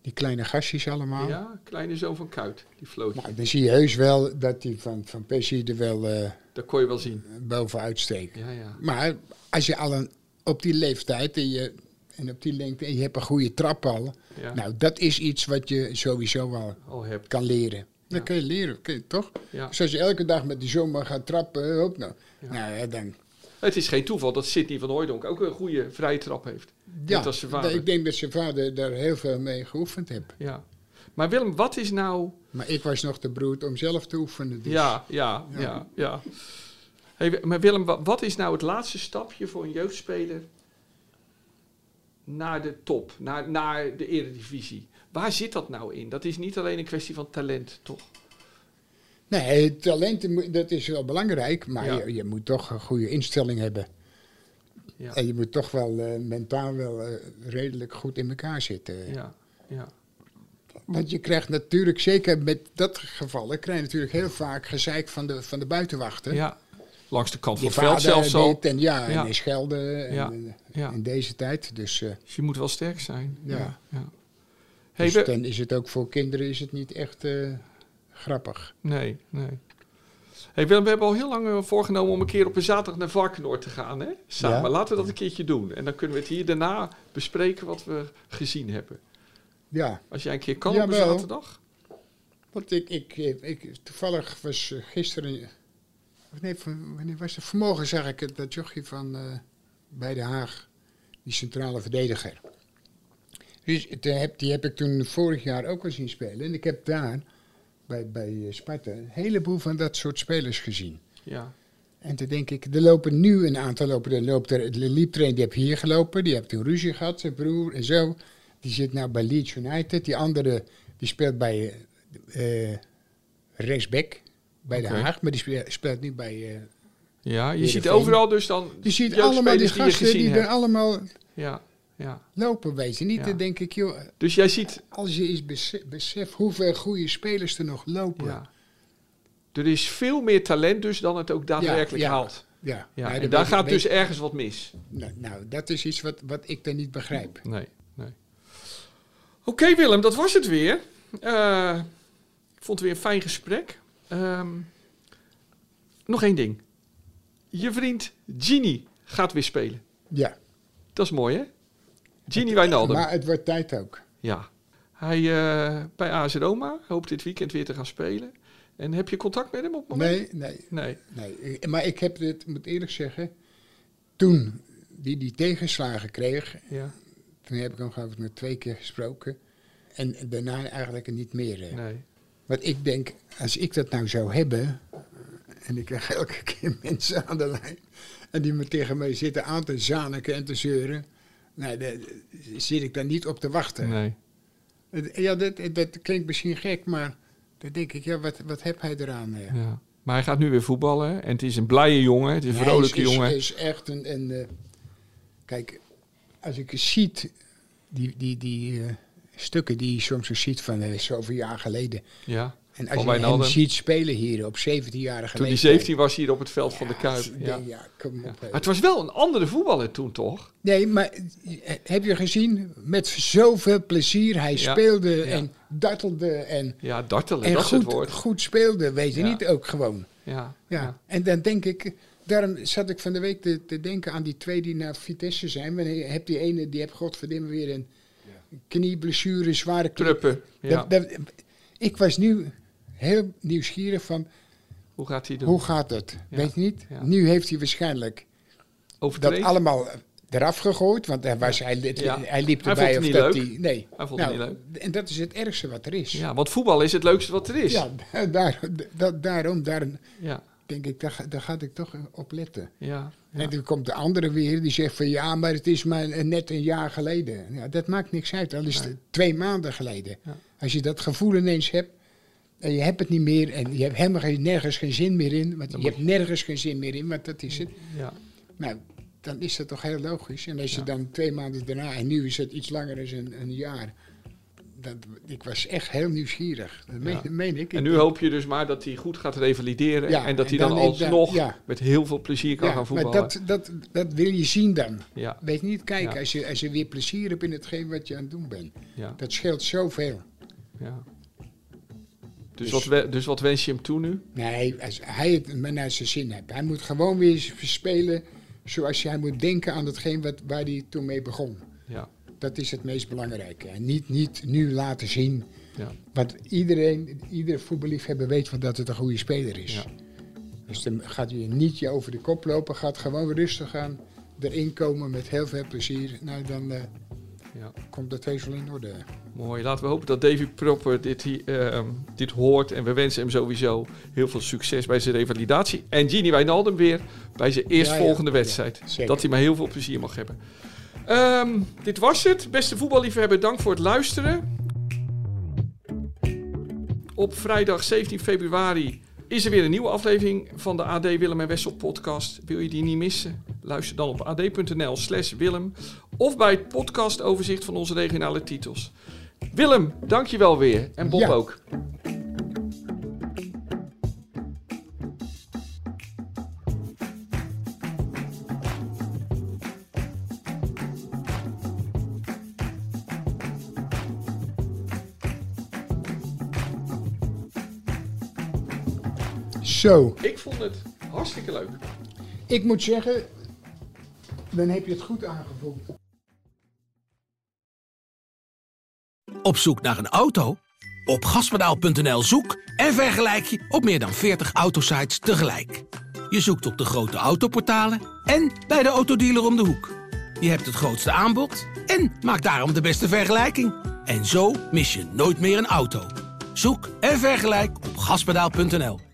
Speaker 1: Die kleine gastjes allemaal.
Speaker 2: Ja, kleine zoon van Kuit, die floot.
Speaker 1: Nou, dan zie je heus wel dat die van, van Persie er wel eh,
Speaker 2: Dat kon je wel zien.
Speaker 1: bovenuit steekt.
Speaker 2: Ja, ja.
Speaker 1: Maar als je al een, op die leeftijd en, je, en op die lengte en je hebt een goede trap al.
Speaker 2: Ja.
Speaker 1: Nou, dat is iets wat je sowieso al
Speaker 2: Al hebt.
Speaker 1: kan leren. Dat kun je leren, kun je, toch?
Speaker 2: Ja.
Speaker 1: Dus als je elke dag met die zomer gaat trappen, hop nou. Nou ja, dan...
Speaker 2: Het is geen toeval dat Sidney van Hooijdonk ook een goede vrije trap heeft.
Speaker 1: Ja,
Speaker 2: Net als zijn vader.
Speaker 1: ik denk dat zijn vader daar heel veel mee geoefend heeft.
Speaker 2: Ja. Maar Willem, wat is nou...
Speaker 1: Maar ik was nog te broed om zelf te oefenen. Dus.
Speaker 2: Ja, ja, ja, ja. Hey, Wi- maar Willem, wa- wat is nou het laatste stapje voor een jeugdspeler naar de top, naar, naar de eredivisie? Waar zit dat nou in? Dat is niet alleen een kwestie van talent, toch?
Speaker 1: Nee, talenten, moet- dat is wel belangrijk, maar
Speaker 2: Ja.
Speaker 1: je, je moet toch een goede instelling hebben.
Speaker 2: Ja.
Speaker 1: En je moet toch wel eh, mentaal wel eh, redelijk goed in elkaar zitten.
Speaker 2: Ja, ja,
Speaker 1: Want je krijgt natuurlijk, zeker met dat gevallen, krijg je natuurlijk heel vaak gezeik van de, van de buitenwachten.
Speaker 2: ja. Langs de kant van
Speaker 1: Je
Speaker 2: het veld zelfs al.
Speaker 1: dit en ja,
Speaker 2: Ja.
Speaker 1: en is gelden en,
Speaker 2: Ja,
Speaker 1: eh,
Speaker 2: ja.
Speaker 1: in deze tijd. Dus, eh,
Speaker 2: Dus je moet wel sterk zijn.
Speaker 1: Ja.
Speaker 2: ja. Hey,
Speaker 1: dus
Speaker 2: we-
Speaker 1: dan is het ook voor kinderen is het niet echt eh, grappig.
Speaker 2: Nee, nee. Hey Willem, we hebben al heel lang eh, voorgenomen om een keer op een zaterdag naar Varkenoord te gaan. Hè? Samen.
Speaker 1: Ja.
Speaker 2: Laten we dat een keertje doen. En dan kunnen we het hier daarna bespreken wat we gezien hebben.
Speaker 1: Ja.
Speaker 2: Als jij een keer kan op een
Speaker 1: Jawel.
Speaker 2: zaterdag.
Speaker 1: Want ik, ik, ik, toevallig was eh, gisteren, of nee, van, wanneer was het? Vanmorgen zag ik het, dat jochie van eh, bij Den Haag, die centrale verdediger. Dus het, eh, heb, die heb ik toen vorig jaar ook al zien spelen. En ik heb daar, bij, bij eh, Sparta, een heleboel van dat soort spelers gezien.
Speaker 2: Ja,
Speaker 1: En toen denk ik, er lopen nu een aantal lopen. Er loopt er, er liep er een, die heb hier gelopen, die heeft toen ruzie gehad, zijn broer en zo. Die zit nou bij Leeds United. Die andere, die speelt bij eh eh, rechtsback bij
Speaker 2: Oké.
Speaker 1: Den Haag, maar die speelt, speelt nu bij... eh,
Speaker 2: ja je ziet
Speaker 1: Heerenveen.
Speaker 2: overal dus dan
Speaker 1: je ziet
Speaker 2: jeugdspelers
Speaker 1: allemaal die
Speaker 2: je
Speaker 1: gasten
Speaker 2: gezien
Speaker 1: die, er
Speaker 2: hebt.
Speaker 1: allemaal
Speaker 2: Ja, ja.
Speaker 1: lopen, weet je niet?
Speaker 2: Ja.
Speaker 1: Dan denk ik, joh,
Speaker 2: Dus jij ziet...
Speaker 1: als je eens beseft, beseft hoeveel goede spelers er nog lopen.
Speaker 2: Ja. Er is veel meer talent dus dan het ook daadwerkelijk
Speaker 1: ja.
Speaker 2: haalt.
Speaker 1: Ja,
Speaker 2: Ja,
Speaker 1: maar
Speaker 2: en
Speaker 1: dan
Speaker 2: daar
Speaker 1: weet-
Speaker 2: gaat
Speaker 1: weet-
Speaker 2: dus ergens wat mis.
Speaker 1: Nou, nou, dat is iets wat, wat ik dan niet begrijp.
Speaker 2: Nee, nee. Oké Willem, dat was het weer. Eh, ik vond het weer een fijn gesprek. Ehm, nog één ding. Je vriend Gini gaat weer spelen.
Speaker 1: Ja,
Speaker 2: Dat is mooi, hè? Gini Wijnaldum.
Speaker 1: maar het wordt tijd ook.
Speaker 2: Ja. Hij eh, bij AZ Roma hoopt dit weekend weer te gaan spelen. En heb je contact met hem op het moment?
Speaker 1: Nee, nee,
Speaker 2: Nee.
Speaker 1: Nee, eh, maar ik heb dit, moet eerlijk zeggen, toen die die tegenslagen kreeg,
Speaker 2: Ja.
Speaker 1: toen heb ik hem geloof ik nog twee keer gesproken. En daarna eigenlijk niet meer. eh.
Speaker 2: Nee.
Speaker 1: Want ik denk, als ik dat nou zou hebben, en ik krijg elke keer mensen aan de lijn, en die me tegen mij zitten aan te zaniken en te zeuren, nou, daar zit ik daar niet op te wachten.
Speaker 2: Nee.
Speaker 1: Het- Ja, dat, dat klinkt misschien gek, maar dan denk ik, ja, wat, wat heb hij eraan? eh?
Speaker 2: Ja. Maar hij gaat nu weer voetballen. En het is een blije jongen. Het is een
Speaker 1: Hij
Speaker 2: vrolijke
Speaker 1: is, is-
Speaker 2: jongen.
Speaker 1: is echt een. een eh, kijk, als ik eens ziet, die, die, die eh, stukken die je soms eens ziet van eh, zoveel jaar geleden.
Speaker 2: Ja.
Speaker 1: En
Speaker 2: Van
Speaker 1: als je hem
Speaker 2: Wijnaldum.
Speaker 1: ziet spelen hier op 17-jarige
Speaker 2: Toen hij
Speaker 1: leeftijd.
Speaker 2: 17 was hier op het veld van de Kuip.
Speaker 1: Ja,
Speaker 2: Ja.
Speaker 1: denk, ja, kom
Speaker 2: Ja.
Speaker 1: op.
Speaker 2: Maar
Speaker 1: eh.
Speaker 2: het was wel een andere voetballer toen, toch?
Speaker 1: Nee, maar eh, heb je gezien? Met zoveel plezier. Hij
Speaker 2: Ja,
Speaker 1: speelde
Speaker 2: ja.
Speaker 1: en dartelde en,
Speaker 2: Ja, dartelen,
Speaker 1: en
Speaker 2: dat is het
Speaker 1: goed,
Speaker 2: woord.
Speaker 1: goed speelde. Weet je
Speaker 2: Ja.
Speaker 1: niet ook gewoon.
Speaker 2: Ja,
Speaker 1: Ja.
Speaker 2: ja.
Speaker 1: en dan denk ik, daarom zat ik van de week te, te denken aan die twee die naar Vitesse zijn. Maar je hebt die ene, die heeft godverdomme weer een knieblessure, zware knie.
Speaker 2: Truppen. Ja.
Speaker 1: Dat- dat- ik was nu heel nieuwsgierig van,
Speaker 2: Hoe gaat hij doen?
Speaker 1: hoe gaat het?
Speaker 2: Ja,
Speaker 1: Weet je niet?
Speaker 2: ja.
Speaker 1: Nu heeft hij waarschijnlijk dat
Speaker 2: Overtreden?
Speaker 1: allemaal eraf gegooid. Want hij, was, hij, het-
Speaker 2: Ja.
Speaker 1: hij liep
Speaker 2: Hij
Speaker 1: erbij
Speaker 2: vond het
Speaker 1: of dat
Speaker 2: niet leuk.
Speaker 1: hij... Nee. Nou,
Speaker 2: Hij vond het niet
Speaker 1: En dat is het ergste wat er is.
Speaker 2: Ja, want voetbal is het leukste wat er is. Ja,
Speaker 1: Ja, daar, dat, daarom, daarom
Speaker 2: ja,
Speaker 1: denk ik, daar, ga- daar ga ik toch op letten.
Speaker 2: ja.
Speaker 1: En dan komt de andere weer die zegt van ja, maar het is maar net een jaar geleden. Ja, dat maakt niks uit, al is het twee maanden geleden.
Speaker 2: Ja.
Speaker 1: Als je dat gevoel ineens hebt, En je hebt het niet meer en je hebt helemaal geen, nergens geen zin meer in. Want
Speaker 2: Dan
Speaker 1: je
Speaker 2: moet
Speaker 1: hebt nergens geen zin meer in, want dat is het.
Speaker 2: Ja.
Speaker 1: Nou, dan is dat toch heel logisch. En als je dan twee maanden daarna, en nu is het iets langer dan een, een jaar. Dat, ik was echt heel nieuwsgierig. Dat meen,
Speaker 2: Ja.
Speaker 1: dat meen ik.
Speaker 2: En nu hoop je dus maar dat hij goed gaat revalideren.
Speaker 1: Ja,
Speaker 2: en dat hij
Speaker 1: en
Speaker 2: dan,
Speaker 1: dan ik- dan-
Speaker 2: alsnog
Speaker 1: ja.
Speaker 2: met heel veel plezier kan
Speaker 1: ja,
Speaker 2: gaan
Speaker 1: maar
Speaker 2: voetballen.
Speaker 1: dat, dat, dat wil je zien dan.
Speaker 2: Ja,
Speaker 1: Weet je niet, kijk,
Speaker 2: Ja.
Speaker 1: als, je, als je weer plezier hebt in hetgeen wat je aan het doen bent.
Speaker 2: ja,
Speaker 1: Dat scheelt zoveel.
Speaker 2: ja. Dus, wat we, dus wat wens je hem toe nu?
Speaker 1: Nee, als hij het maar naar zijn zin hebt. Hij moet gewoon weer eens spelen zoals hij moet denken aan hetgeen wat, waar hij toen mee begon.
Speaker 2: Ja,
Speaker 1: Dat is het meest belangrijke. En niet, niet nu laten zien.
Speaker 2: ja,
Speaker 1: Want iedereen, iedere voetballiefhebber weet van dat het een goede speler is.
Speaker 2: Ja.
Speaker 1: Dus dan gaat hij niet je over de kop lopen. Gaat gewoon rustig aan erin komen met heel veel plezier. Nou, dan eh,
Speaker 2: ja.
Speaker 1: komt dat heus wel in orde.
Speaker 2: Mooi. Laten we hopen dat Davy Propper dit, hi- ehm, dit hoort. En we wensen hem sowieso heel veel succes bij zijn revalidatie. En Gini Wijnaldum weer bij zijn eerstvolgende
Speaker 1: ja, ja.
Speaker 2: wedstrijd.
Speaker 1: Zeker.
Speaker 2: dat hij maar heel veel plezier mag hebben. Ehm, dit was het. Beste voetballiefhebber, dank voor het luisteren. Op vrijdag 17 februari is er weer een nieuwe aflevering van de AD Willem en Wessel podcast. Wil je die niet missen? Luister dan op ad.nl slash Willem of bij het podcastoverzicht van onze regionale titels. Willem, dankjewel weer. En Bob
Speaker 1: Ja.
Speaker 2: ook.
Speaker 1: Zo.
Speaker 2: Ik vond het hartstikke leuk.
Speaker 1: Ik moet zeggen, dan heb je het goed aangevoeld.
Speaker 7: Op zoek naar een auto? Op gaspedaal.nl zoek en vergelijk je op meer dan 40 autosites tegelijk. Je zoekt op de grote autoportalen en bij de autodealer om de hoek. Je hebt het grootste aanbod en maakt daarom de beste vergelijking. En zo mis je nooit meer een auto. Zoek en vergelijk op gaspedaal.nl.